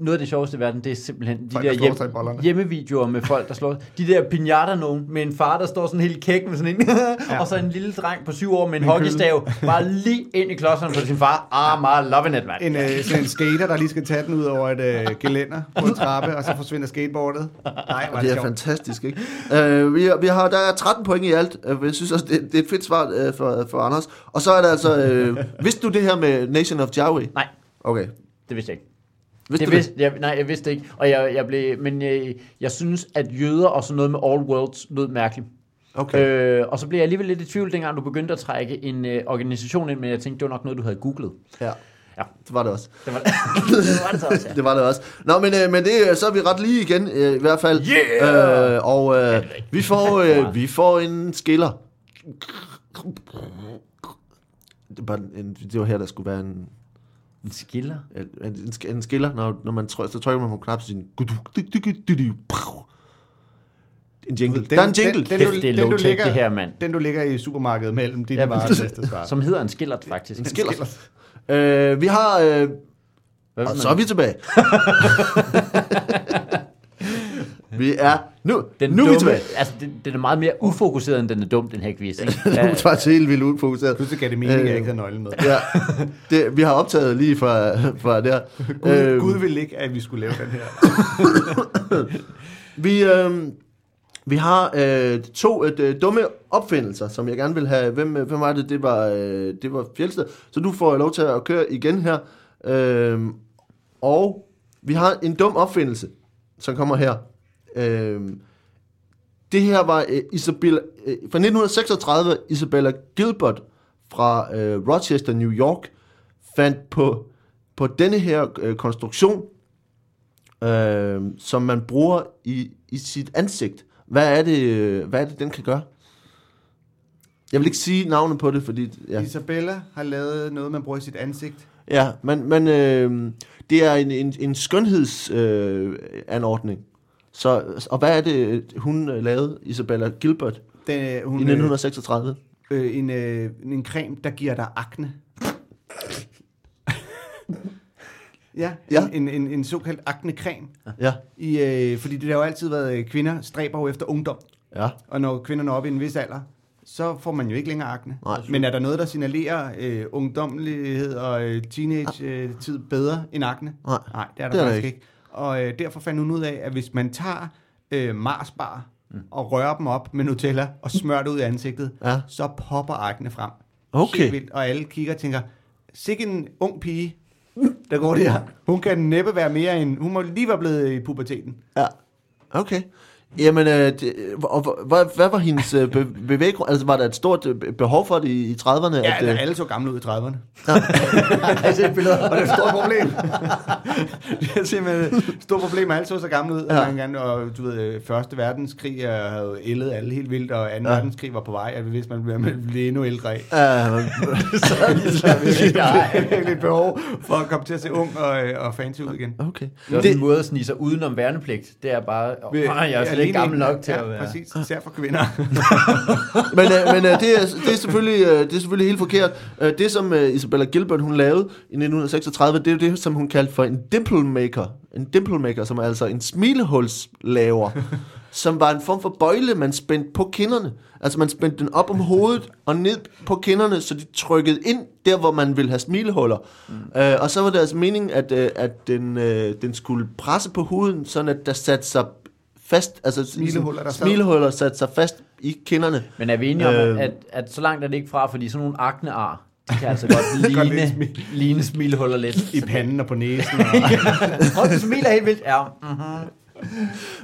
Speaker 3: Noget af det sjoveste i verden, det er simpelthen de
Speaker 2: Folk,
Speaker 3: der
Speaker 2: der slår sig i
Speaker 3: hjem,
Speaker 2: bollerne.
Speaker 3: hjemmevideoer med folk, der slår De der pinata nogen med en far, der står sådan helt kæk med sådan en, ja. *laughs* og så en lille dreng på syv år med en
Speaker 2: kølle.
Speaker 3: hockeystav, bare lige ind i klodserne på sin far. Ah, my loving it, mand.
Speaker 2: En, øh, sådan en skater, der lige skal tage den ud over et øh, gelænder på en trappe, og så forsvinder skateboardet. Nej, var
Speaker 1: Det
Speaker 2: det
Speaker 1: er
Speaker 2: sjovt.
Speaker 1: fantastisk, ikke? Øh, vi, har- vi har, der er 13 point i alt, øh, jeg synes også, det, det er et fedt svar øh, for, for Anders. Og så er der altså, øh, vidste du det her med Nation of Jawi?
Speaker 3: Nej,
Speaker 1: Okay.
Speaker 3: det vidste jeg ikke.
Speaker 1: Vidste
Speaker 3: det
Speaker 1: du
Speaker 3: vidste, jeg, nej, jeg vidste det ikke. Og jeg, jeg blev, men jeg, jeg synes, at jøder og sådan noget med all worlds lød mærkeligt.
Speaker 1: Okay.
Speaker 3: Okay. Øh, og så blev jeg alligevel lidt i tvivl, dengang du begyndte at trække en øh, organisation ind, men jeg tænkte, det var nok noget, du havde googlet.
Speaker 1: Ja.
Speaker 3: Ja.
Speaker 1: Det var det også.
Speaker 3: Det var det, var det så også, ja.
Speaker 1: Det var det også. Nå, men, øh, men det, øh, så er vi ret lige igen, øh, i hvert fald.
Speaker 3: Yeah!
Speaker 1: Øh, og øh, vi, får, øh, vi får en skiller. Det var, en, det var her, der skulle være en,
Speaker 3: En skiller?
Speaker 1: en, en, en skiller, når, når man trykker, så trykker man på en knap, så siger den, en jingle. Der er en jingle.
Speaker 2: Den,
Speaker 3: Kæft, det er low-tech, det her, mand.
Speaker 2: Den, du ligger i supermarkedet mellem dine
Speaker 3: Ja,
Speaker 2: ja,
Speaker 3: men-
Speaker 2: varer og næste svar.
Speaker 3: Som hedder en skillert, faktisk. En
Speaker 1: Skiller. Øh, vi har... Øh,
Speaker 3: Hvad
Speaker 1: og
Speaker 3: ved
Speaker 1: så er
Speaker 3: man?
Speaker 1: vi tilbage. vi er... Nu,
Speaker 3: den
Speaker 1: nu er vi
Speaker 3: dumme,
Speaker 1: tilbage.
Speaker 3: Altså, den, den, er meget mere ufokuseret, end den er dum, den her quiz. ikke?
Speaker 1: *laughs* Ja. Nu tager jeg helt vildt ud fokuseret.
Speaker 2: Pludselig gav det mening, at
Speaker 1: Øh.
Speaker 2: jeg ikke havde nøglen med.
Speaker 1: Ja, det, vi har optaget lige fra, fra der.
Speaker 2: Gud,
Speaker 1: Øhm,
Speaker 2: Gud ville ikke, at vi skulle lave den her.
Speaker 1: Vi, øh, vi har øh, to øh, dumme opfindelser, som jeg gerne vil have. Hvem, øh, hvem var det? Det var, øh, det var Fjeldsted. Så du får lov til at køre igen her. Øh, og vi har en dum opfindelse, som kommer her. Øh, det her var øh, Isabella, øh, fra 1936 Isabella Gilbert fra øh, Rochester, New York, fandt på, på denne her øh, konstruktion, øh, som man bruger i, i sit ansigt. Hvad er, det, øh, hvad er det, den kan gøre? Jeg vil ikke sige navnet på det, fordi... Ja.
Speaker 2: Isabella har lavet noget, man bruger i sit ansigt.
Speaker 1: Ja, men, men øh, det er en, en, en skønhedsanordning. Øh, anordning. så, og hvad er det, hun øh, lavede, Isabella Gilbert,
Speaker 2: Den, øh,
Speaker 1: i
Speaker 2: hun, øh,
Speaker 1: 1936?
Speaker 2: øh, en, øh, en creme, der giver dig akne. ja,
Speaker 1: Ja.
Speaker 2: ja. En, en, en såkaldt akne-creme.
Speaker 1: Ja,
Speaker 2: I, øh, fordi det har jo altid været, øh, kvinder stræber jo efter ungdom.
Speaker 1: ja.
Speaker 2: Og når kvinderne er oppe i en vis alder, så får man jo ikke længere akne.
Speaker 1: Nej.
Speaker 2: Men er der noget, der signalerer øh, ungdommelighed og øh, teenage-tid bedre end akne?
Speaker 1: Nej.
Speaker 2: Nej, det er der
Speaker 1: Det er der
Speaker 2: faktisk
Speaker 1: ikke.
Speaker 2: ikke. Og øh, derfor fandt hun ud af, at hvis man tager øh, marsbar mm. og rører dem op med Nutella og smører det ud i ansigtet,
Speaker 1: Ja.
Speaker 2: så popper akne frem.
Speaker 1: Okay.
Speaker 2: Helt vildt. Og alle kigger og tænker, sikke en ung pige, der går der. Hun kan næppe være mere end... Hun må lige være blevet i puberteten.
Speaker 1: Ja, okay. Jamen, øh, det, og, hvor- hvad, hvad var hendes øh, be, bevæggrund? Altså, var der et stort øh, be- behov for det i, i 30'erne?
Speaker 2: Ja,
Speaker 1: at, øh,
Speaker 2: alle så gamle ud i 30'erne.
Speaker 3: Har I
Speaker 1: *laughs*
Speaker 3: set billeder?
Speaker 2: Og det er et stort problem. *laughs* det er simpelthen et stort problem, at alle så så gamle ud. Ja. Gerne, og du ved, øh, Første verdenskrig øh, havde jo ældet alle helt vildt, og anden ja. verdenskrig var på vej, at hvis man blev, blev endnu ældre af.
Speaker 1: øh,
Speaker 3: Så er de så virkelig
Speaker 2: Der
Speaker 3: nej.
Speaker 2: er virkelig et behov for at komme til at se ung og, øh, og fancy ud igen.
Speaker 1: okay.
Speaker 3: Det er også en
Speaker 1: Det,
Speaker 3: måde at snige sig udenom værnepligt. Det er bare, åh,
Speaker 2: Ved-
Speaker 3: jeg er slet
Speaker 2: alene
Speaker 3: ikke gammel
Speaker 2: en-
Speaker 3: nok til
Speaker 2: ja,
Speaker 3: at være...
Speaker 2: præcis. Især for kvinder.
Speaker 1: men øh, men øh, det, er, det, er selvfølgelig, øh, det er selvfølgelig helt forkert. Øh, det, som øh, Isabella Gilbert hun lavede i 1936, det er jo det, som hun kaldte for en dimple maker. En dimple maker, som er altså en
Speaker 2: *laughs*
Speaker 1: smilehulslaver, som var en form for bøjle, man spændte på kinderne. Altså, man spændte den op om hovedet og ned på kinderne, så de trykkede ind der, hvor man ville have smilehuller. Mm. Øh, og så var det altså meningen, at, øh, at den, øh, den skulle presse på huden, sådan at der satte sig fast, altså
Speaker 2: Smilehuller, der sad.
Speaker 1: smilehuller satte sig fast i kinderne.
Speaker 3: Men er vi enige om,
Speaker 1: Øhm.
Speaker 3: øh, at, at så langt er det ikke fra, fordi sådan nogle aknear, de kan altså godt
Speaker 2: Godt
Speaker 3: ligne,
Speaker 2: lidt
Speaker 3: smil. ligne smilhuller lidt.
Speaker 2: I panden og på næsen. *laughs* Og,
Speaker 3: Prøv, du smiler helt vildt. Ja. Mm.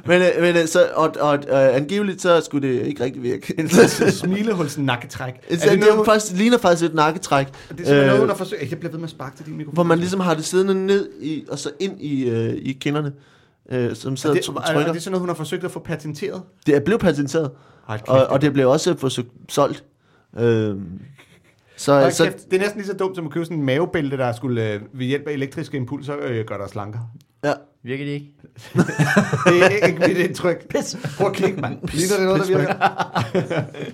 Speaker 1: Men, øh, men øh, så, og, og øh, angiveligt, så skulle det ikke rigtig virke. *laughs*
Speaker 2: en slags smilehuls nakketræk. Er
Speaker 1: Så det,
Speaker 2: noget,
Speaker 1: det
Speaker 2: hun-
Speaker 1: faktisk, ligner faktisk et nakketræk,
Speaker 2: det er simpelthen noget, hun
Speaker 1: øh,
Speaker 2: har forsøgt. Jeg bliver ved med at sparke til din mikrofon.
Speaker 1: hvor man ligesom har det siddende ned i, og så ind i, øh, i kinderne, øh, som
Speaker 2: Og
Speaker 1: sidder
Speaker 2: det,
Speaker 1: og
Speaker 2: og,
Speaker 1: try-
Speaker 2: og det er
Speaker 1: trykker.
Speaker 2: sådan noget, hun har forsøgt at få patenteret.
Speaker 1: Det blev patenteret, og, og det blev også forsøgt solgt. Øh, så,
Speaker 2: Hold
Speaker 1: så
Speaker 2: kæft, det er næsten lige så dumt som at købe sådan en mavebælte, der skulle øh, ved hjælp af elektriske impulser øh, gøre dig slankere.
Speaker 1: ja,
Speaker 3: Virker det ikke?
Speaker 2: Det er ikke mit indtryk.
Speaker 3: Pis.
Speaker 2: Prøv at kigge, mand. Ligner det noget, der virker?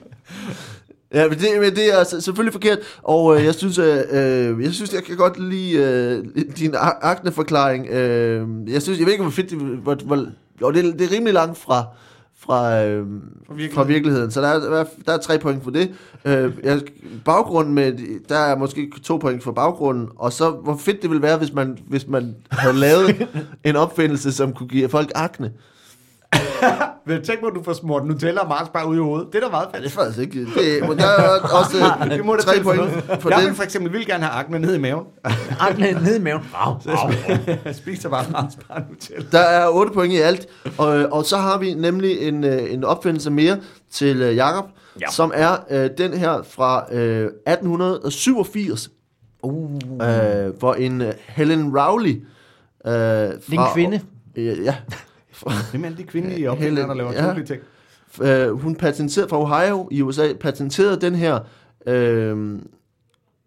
Speaker 1: *laughs* ja men, det, men det er altså selvfølgelig forkert, og øh, jeg synes, øh, øh, jeg synes, jeg kan godt lide øh, din ak- akneforklaring. Øh, jeg synes, jeg ved ikke, hvor fedt det, hvor, hvor, jo, det, er, det er rimelig langt fra, fra, øh, fra virkeligheden. Så der er, der er- der er tre point for det. Øh, jeg, baggrunden med, der er måske to point for baggrunden, og så hvor fedt det ville være, hvis man, hvis man havde
Speaker 2: *laughs*
Speaker 1: lavet en opfindelse, som kunne give folk akne.
Speaker 2: Men tænk på, at du får smurt Nutella og Mars bare ud i hovedet. Det er da meget
Speaker 1: Ja,
Speaker 2: fedt.
Speaker 1: det er faktisk ikke. Det, men der er også
Speaker 2: Det må da
Speaker 1: Øh, tre
Speaker 2: tælle for
Speaker 1: point
Speaker 2: noget.
Speaker 1: for
Speaker 2: Jeg
Speaker 1: det.
Speaker 2: vil for eksempel vildt gerne have akne ned i maven.
Speaker 3: Akne ned i maven. Wow, wow.
Speaker 2: Jeg spiser bare Mars bare Nutella.
Speaker 1: Der er 8 point i alt, og, øh, og så har vi nemlig en, øh, en opfindelse mere til øh, Jakob, ja.
Speaker 3: Ja.
Speaker 1: som er øh, den her fra øh, 1887. Uh. Øh, for en øh, Helen Rowley. Øh,
Speaker 3: Det er en
Speaker 1: fra,
Speaker 3: kvinde.
Speaker 1: Øh, ja.
Speaker 2: Hvem er alle de kvindelige opfindere, der laver
Speaker 1: Ja.
Speaker 2: ja. ting?
Speaker 1: Øh, hun patenterede fra Ohio i USA, patenterede den her, øh,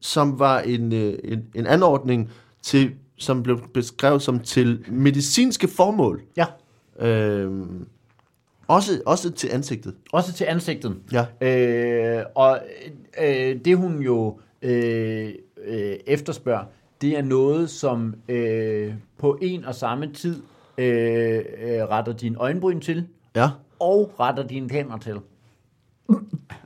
Speaker 1: som var en, øh, en, en anordning til, som blev beskrevet som til medicinske formål.
Speaker 3: Ja,
Speaker 1: Øhm, også, også til ansigtet.
Speaker 3: også til ansigtet.
Speaker 1: Ja.
Speaker 3: Øh, og øh, det hun jo øh, øh, efterspørger, det er noget, som øh, på en og samme tid øh, øh, retter din øjenbryn til,
Speaker 1: Ja.
Speaker 3: og retter dine tænder til.
Speaker 2: Og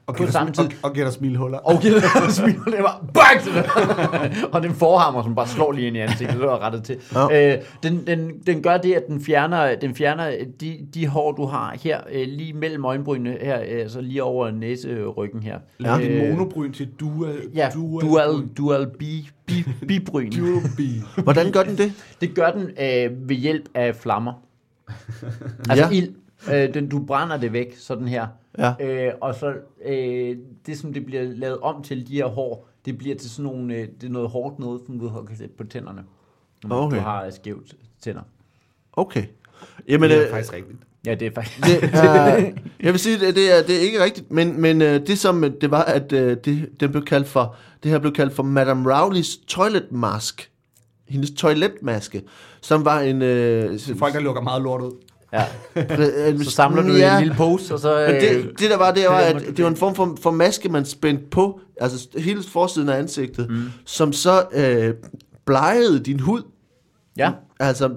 Speaker 3: På
Speaker 2: giver dig-
Speaker 3: samme tid.
Speaker 2: og- Og giver dig smilhuller.
Speaker 3: Og giver dig en smil, og det *laughs* var BANG! og den forhammer, som bare slår lige ind i ansigtet, det var rettet til.
Speaker 1: Ja.
Speaker 3: Ja. Øh, den, den, den gør det, at den fjerner, den fjerner de, de hår, du har her, øh, lige mellem øjenbrynene her, øh, altså lige over næseryggen her.
Speaker 2: Lav din monobryn til dual...
Speaker 3: Ja, dual, dual bi, bi, bibryn.
Speaker 2: Dual bee.
Speaker 1: Hvordan gør den det?
Speaker 3: Det gør den øh, ved hjælp af
Speaker 1: *laughs*
Speaker 3: flammer. Altså
Speaker 1: Ja.
Speaker 3: ja. ild. Øh, den, du brænder det væk, sådan her.
Speaker 1: Ja.
Speaker 3: Øh, og så øh, det, som det bliver lavet om til, de her hår, det bliver til sådan nogle, øh, det er noget hårdt noget, som du har kan sætte på tænderne. Når
Speaker 1: Okay.
Speaker 3: du har øh, skævt tænder.
Speaker 1: Okay. Jamen,
Speaker 2: det er
Speaker 1: øh,
Speaker 2: faktisk rigtigt.
Speaker 3: Ja, det er faktisk...
Speaker 1: det
Speaker 3: *laughs*
Speaker 1: er, jeg vil sige, at det er, det er ikke rigtigt, men, men øh, det som øh, det var, at øh, det, den blev kaldt for, det her blev kaldt for Madame Rowleys toilet mask. Hendes toiletmaske, som var en... Øh,
Speaker 2: Det er folk, der lukker meget lort ud.
Speaker 3: Ja.
Speaker 1: øh,
Speaker 3: Så samler du ja. en lille pose, og så...
Speaker 1: Men
Speaker 3: Øh,
Speaker 1: det, det der var, det var,
Speaker 3: det må du
Speaker 1: at det var en form for, for maske, man spændte på, altså hele forsiden af ansigtet, mm. som så øh, blegede din hud.
Speaker 3: ja.
Speaker 1: Altså,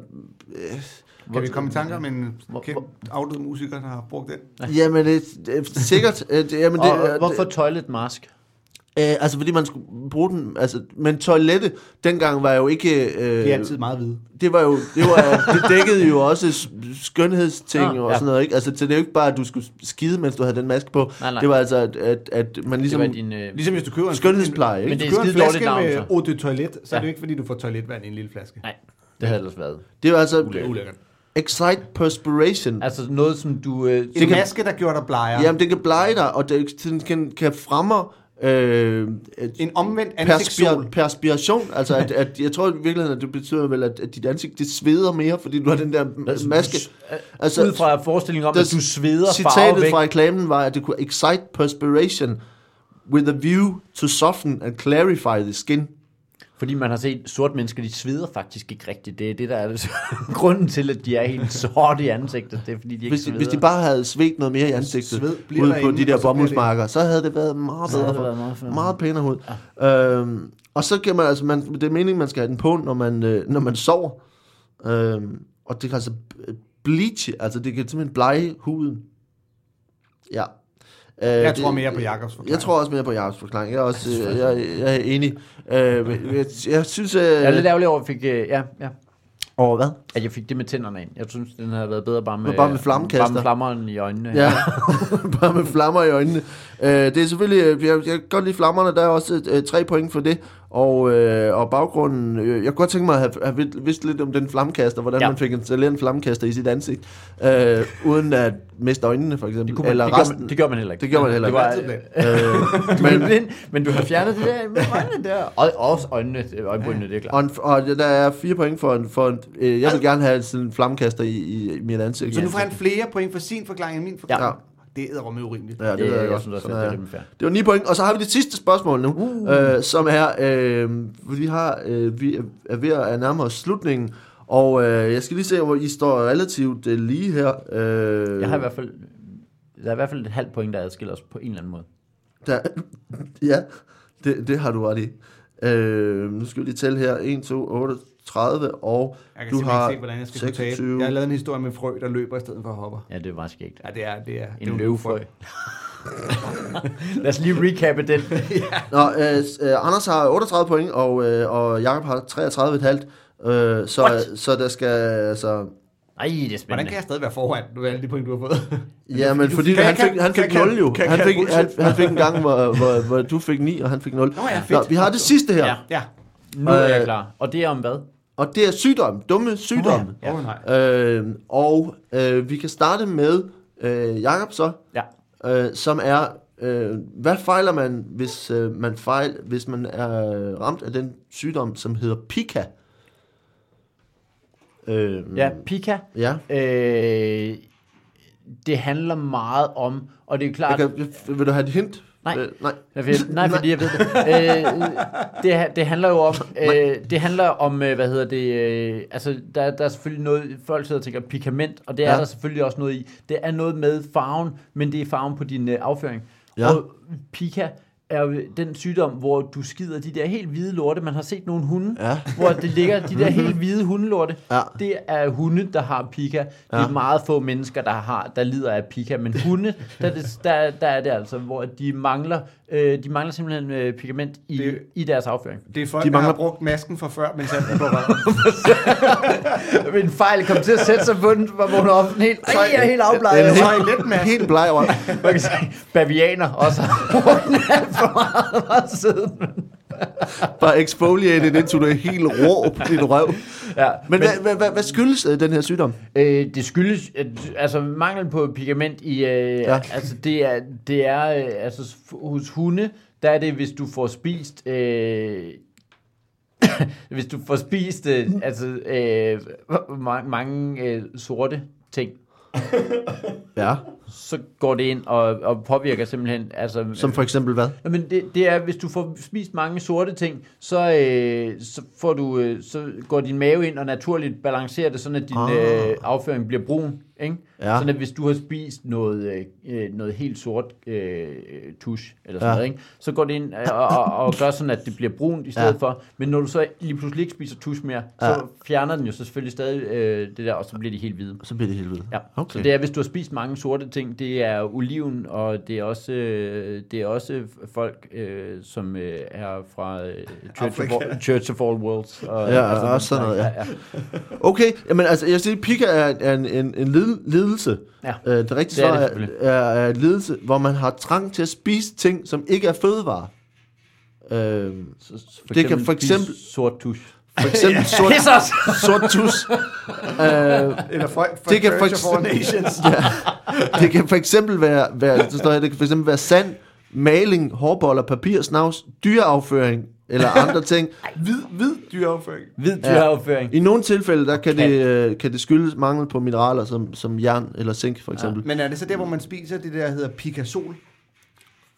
Speaker 2: Kan vi komme i tanker om en
Speaker 3: Hvor-
Speaker 2: kendt afdød musiker, der har brugt den?
Speaker 1: jamen, det, det, sikkert. Øh, det, jamen, det,
Speaker 3: Og, og,
Speaker 1: øh,
Speaker 3: hvorfor
Speaker 1: Det,
Speaker 3: toilet mask?
Speaker 1: øh, altså, fordi man skulle bruge den. Altså, men toilette dengang var jo ikke...
Speaker 2: De er
Speaker 1: Øh,
Speaker 2: altid meget hvide.
Speaker 1: det var jo, det, var, det dækkede jo også s- skønhedsting
Speaker 3: Nå,
Speaker 1: og
Speaker 3: ja.
Speaker 1: sådan noget, ikke? Altså, så det er jo ikke bare, at du skulle skide, mens du havde den maske på.
Speaker 3: Nej, nej.
Speaker 1: Det var altså, at, at, at man
Speaker 3: Det
Speaker 1: ligesom...
Speaker 3: var din... Øh,
Speaker 2: Ligesom hvis du køber en,
Speaker 1: Skønhedspleje, ikke?
Speaker 2: hvis
Speaker 3: Men
Speaker 2: du
Speaker 3: det er
Speaker 2: køber en flaske
Speaker 3: skide dårligt navn,
Speaker 2: med
Speaker 3: så.
Speaker 2: eau de toilet, så er det jo
Speaker 3: Ja.
Speaker 2: ikke, fordi du får toiletvand i en lille flaske.
Speaker 3: nej, det havde ellers været.
Speaker 1: Det var altså
Speaker 2: Det er ulækkert.
Speaker 1: Excite Perspiration.
Speaker 3: Altså noget, som du... Øh,
Speaker 2: En
Speaker 1: kan-
Speaker 2: maske, der gjorde dig blejer.
Speaker 1: Jamen, det kan blege dig, og det den kan, kan fremme øh, et
Speaker 2: En omvendt
Speaker 1: perspir,
Speaker 2: ansigtssol.
Speaker 1: perspiration. Altså, at, at, jeg tror i virkeligheden, at det betyder vel, at, at dit ansigt det sveder mere, fordi du har den der
Speaker 3: Altså,
Speaker 1: m- maske.
Speaker 3: altså, ud fra forestillingen om,
Speaker 1: der-
Speaker 3: at du sveder farve
Speaker 1: citatet
Speaker 3: væk.
Speaker 1: fra reklamen var, at det kunne excite perspiration with a view to soften and clarify the skin.
Speaker 3: Fordi man har set, sorte mennesker, de sveder faktisk ikke rigtigt. Det er det, der er det. *laughs* grunden til, at de er helt sorte i ansigtet. Det er, fordi de ikke
Speaker 1: Hvis de,
Speaker 3: sveder.
Speaker 1: hvis de bare havde svedt noget mere i ansigtet,
Speaker 2: sved bliver
Speaker 1: ude på
Speaker 2: derinde,
Speaker 1: de der
Speaker 2: og så bliver det-
Speaker 1: bomuldsmarker, så havde det været meget
Speaker 3: Så havde
Speaker 1: bedre
Speaker 3: det været meget
Speaker 1: for,
Speaker 3: federe.
Speaker 1: meget pænere hud. Øhm, og så kan man, altså, man, det er meningen, man skal have den på, når man, øh, når man sover. Øhm, og det kan altså bleach, altså det kan simpelthen blege huden. Ja. Øh,
Speaker 2: Jeg tror mere på Jacobs
Speaker 1: Jeg
Speaker 2: forklaring.
Speaker 1: tror også mere på Jacobs forklaring. Jeg er, også, øh, jeg, jeg er enig. Øh, men jeg, jeg synes... Øh,
Speaker 3: Jeg er lidt ærgerlig over, at jeg fik, øh, ja, ja,
Speaker 1: over hvad?
Speaker 3: at jeg fik det med tænderne ind. Jeg synes, den havde været bedre bare med, øh,
Speaker 1: Bare med flammekaster.
Speaker 3: Bare med flammeren i øjnene.
Speaker 1: Ja, *laughs* bare med flammer i øjnene. Øh, det er selvfølgelig, øh, jeg, jeg kan godt lide flammerne, der er også øh, tre point for det. Og, øh, og baggrunden, øh, jeg kunne godt tænke mig at have, have vid- vidst lidt om den flammekaster, hvordan ja.
Speaker 3: Ja.
Speaker 1: man fik installeret en flammekaster i sit ansigt, øh, uden at miste øjnene for eksempel.
Speaker 3: Det, kunne man,
Speaker 1: Eller
Speaker 3: det, gør
Speaker 1: resten.
Speaker 3: man, det gør man heller ikke.
Speaker 1: Det gør man heller
Speaker 3: Det
Speaker 1: *laughs*
Speaker 3: var,
Speaker 2: ikke.
Speaker 3: øh, *laughs* du men, blind, men du har fjernet det der med øjnene
Speaker 1: *laughs*
Speaker 3: der. Og også øjnene, øh, øjenbrynene, det er klart.
Speaker 1: Og, en, og der er fire point for en, for en øh,
Speaker 3: Altså-
Speaker 1: jeg vil gerne have sådan en flammekaster i, i, i mit ansigt.
Speaker 2: Så nu får han flere point for sin forklaring end min forklaring. Det er med urimeligt.
Speaker 1: Ja, det, det ved jeg,
Speaker 3: jeg
Speaker 1: godt.
Speaker 3: synes også,
Speaker 1: Sådan
Speaker 3: at
Speaker 1: er
Speaker 3: det Øh, er
Speaker 1: jeg.
Speaker 3: lidt fair.
Speaker 1: Det var 9 point, og så har vi det sidste spørgsmål nu, uh. øh, som er, øh, vi, har, øh, vi er ved at nærme os slutningen, og øh, jeg skal lige se, hvor I står relativt øh, lige her. Øh,
Speaker 3: Jeg har i hvert fald... Der er i hvert fald et halvt point, der adskiller os på en eller anden måde.
Speaker 1: Der, *laughs* ja, det, det har du ret i. Øh, nu skal vi lige tælle her, 1, 2, 8, 30, og
Speaker 2: Jeg kan
Speaker 1: du
Speaker 2: simpelthen
Speaker 1: har
Speaker 2: ikke se, hvordan jeg skal kunne tale.
Speaker 1: 26.
Speaker 2: Jeg har lavet en historie med en frø, der løber i stedet for hopper.
Speaker 3: Ja, det var skægt.
Speaker 2: Ja, det er... Det er det er
Speaker 3: En
Speaker 2: jo
Speaker 3: løvfrø. *laughs* Lad os lige recappe den.
Speaker 1: Nå, øh, s- øh, Anders har 38 point, og, øh, og Jakob har 33,5, øh, så,
Speaker 3: What?
Speaker 1: så der skal, altså,
Speaker 3: Ej, det er
Speaker 2: Hvordan
Speaker 3: spændende.
Speaker 2: kan jeg stadig være foran med alle de point, du har fået? Altså,
Speaker 1: Ja, men fordi
Speaker 2: Kan-
Speaker 1: han
Speaker 2: kan-
Speaker 1: fik, han
Speaker 2: kan-
Speaker 1: fik
Speaker 2: kan-
Speaker 1: 0 jo.
Speaker 2: kan-
Speaker 1: Han
Speaker 2: kan-
Speaker 1: fik, han,
Speaker 2: bullshit.
Speaker 1: han fik en gang, hvor, hvor, hvor du fik 9, og han fik 0.
Speaker 2: ja, fedt.
Speaker 1: vi har det sidste her,
Speaker 3: Ja.
Speaker 2: Ja.
Speaker 3: Nu er
Speaker 1: Øh,
Speaker 3: jeg klar. Og det er om hvad?
Speaker 1: og det er sygdomme, dumme sygdomme.
Speaker 2: Åh, nej.
Speaker 1: Øh, og øh, vi kan starte med øh, Jakob så,
Speaker 3: Ja.
Speaker 1: øh, som er, øh, hvad fejler man, hvis øh, man fejl, hvis man er øh, ramt af den sygdom, som hedder Pika? Øh,
Speaker 3: Ja, Pika.
Speaker 1: ja.
Speaker 3: Øh, det handler meget om, og det er jo klart...
Speaker 1: Jeg kan, vil du have et hint?
Speaker 3: Nej.
Speaker 1: Øh, nej.
Speaker 3: Jeg ved, nej, fordi jeg ved det. Øh, det. ha- Det handler jo om, øh, det handler om øh, hvad hedder det, øh, altså der, der er selvfølgelig noget, folk sidder og tænker pikament, og det er
Speaker 1: Ja.
Speaker 3: der selvfølgelig også noget i. Det er noget med farven, men det er farven på din øh, afføring.
Speaker 1: Ja.
Speaker 3: Og pika er jo den sygdom, hvor du skider de der helt hvide lorte. Man har set nogle hunde,
Speaker 1: Ja.
Speaker 3: hvor det ligger de der
Speaker 1: *laughs*
Speaker 3: helt hvide hundelorte.
Speaker 1: Ja.
Speaker 3: Det er hunde, der har pika. Det er
Speaker 1: Ja.
Speaker 3: meget få mennesker, der har der lider af pika, men hunde, der, er det, der, der er det altså, hvor de mangler, øh, de mangler simpelthen øh, pigment i,
Speaker 2: Det-
Speaker 3: i deres afføring.
Speaker 2: Det er folk,
Speaker 1: De
Speaker 2: de
Speaker 1: mangler-
Speaker 2: mangler... der har brugt masken fra før, men sat den på røven.
Speaker 3: *laughs* En fejl kom til at sætte sig på den, hvor hun er op helt, ej, jeg er helt afbleget.
Speaker 1: Den
Speaker 2: Så
Speaker 1: er
Speaker 2: er I lidt med.
Speaker 1: Helt bleg over.
Speaker 3: Man kan sige, bavianer også har *laughs* hun alt for meget, meget siden.
Speaker 1: Bare exfoliate it indtil du er helt rå på din røv.
Speaker 3: Ja,
Speaker 1: Men, men hvad, hvad, hvad skyldes øh, den her sygdom?
Speaker 3: Øh, det skyldes, at, altså mangel på pigment i, øh,
Speaker 1: Ja.
Speaker 3: ja. altså det er, det er øh, altså f- hos hunde, der er det, hvis du får spist... Øh, *coughs* hvis du får spist øh, altså, øh, ma- mange øh, sorte ting,
Speaker 1: Ja.
Speaker 3: så går det ind og, og påvirker simpelthen... Altså,
Speaker 1: Som for eksempel hvad?
Speaker 3: Ja, men det, det er, hvis du får spist mange sorte ting, så, øh, så, får du, øh, så går din mave ind og naturligt balancerer det, sådan at din
Speaker 1: Ah.
Speaker 3: ah. øh, afføring bliver brun. Ikke?
Speaker 1: Ja.
Speaker 3: Sådan at hvis du har spist noget, øh, øh, noget helt sort øh, tusch, eller sådan
Speaker 1: Ja.
Speaker 3: ja. noget, ikke? så går det ind øh, og, og, og gør sådan, at det bliver brunt i stedet
Speaker 1: Ja.
Speaker 3: ja. for. Men når du så lige pludselig ikke spiser tusch mere, så
Speaker 1: Ja.
Speaker 3: fjerner den jo så selvfølgelig stadig øh, det der, og så bliver de helt hvide.
Speaker 1: Så bliver det helvede.
Speaker 3: Ja,
Speaker 1: Okay.
Speaker 3: okay. så det er, hvis du har spist mange sorte ting, det er oliven, og det er også, øh, det er også folk, øh, som øh, er fra øh, Church, of
Speaker 4: Afrika.
Speaker 3: all, Church of All Worlds. Og,
Speaker 1: Ja, og også sådan noget, ja. Okay, jamen altså, jeg siger, pika er, er en, en, en lid- lidelse.
Speaker 3: Ja.
Speaker 1: Øh, det rigtige
Speaker 3: Det er
Speaker 1: svar
Speaker 3: det
Speaker 1: er,
Speaker 3: selvfølgelig.
Speaker 1: er, er en lidelse, hvor man har trang til at spise ting, som ikke er fødevarer. Øh,
Speaker 3: Så, for
Speaker 1: Det kan for
Speaker 3: spise
Speaker 1: eksempel-
Speaker 3: Sort tusch.
Speaker 1: for
Speaker 3: *laughs*
Speaker 1: eksempel sort,
Speaker 3: Pis os!
Speaker 2: *laughs*
Speaker 1: sort tus. Øh,
Speaker 4: Eller folk fra
Speaker 1: Det kan
Speaker 4: Church
Speaker 1: for
Speaker 4: of
Speaker 1: eksempel-
Speaker 4: All Nations.
Speaker 1: det kan for eksempel være, være, så står her, det kan for eksempel være sand, maling, hårboller, papir, snavs, dyreafføring eller andre ting.
Speaker 2: *laughs*
Speaker 4: Hvid, hvid dyreafføring.
Speaker 3: Hvid dyreafføring.
Speaker 1: I nogle tilfælde, der kan,
Speaker 3: Kan.
Speaker 1: det, øh, kan det skyldes mangel på mineraler som, som jern eller zink for eksempel.
Speaker 2: Men er det så der, hvor man spiser det der, der hedder pikasol?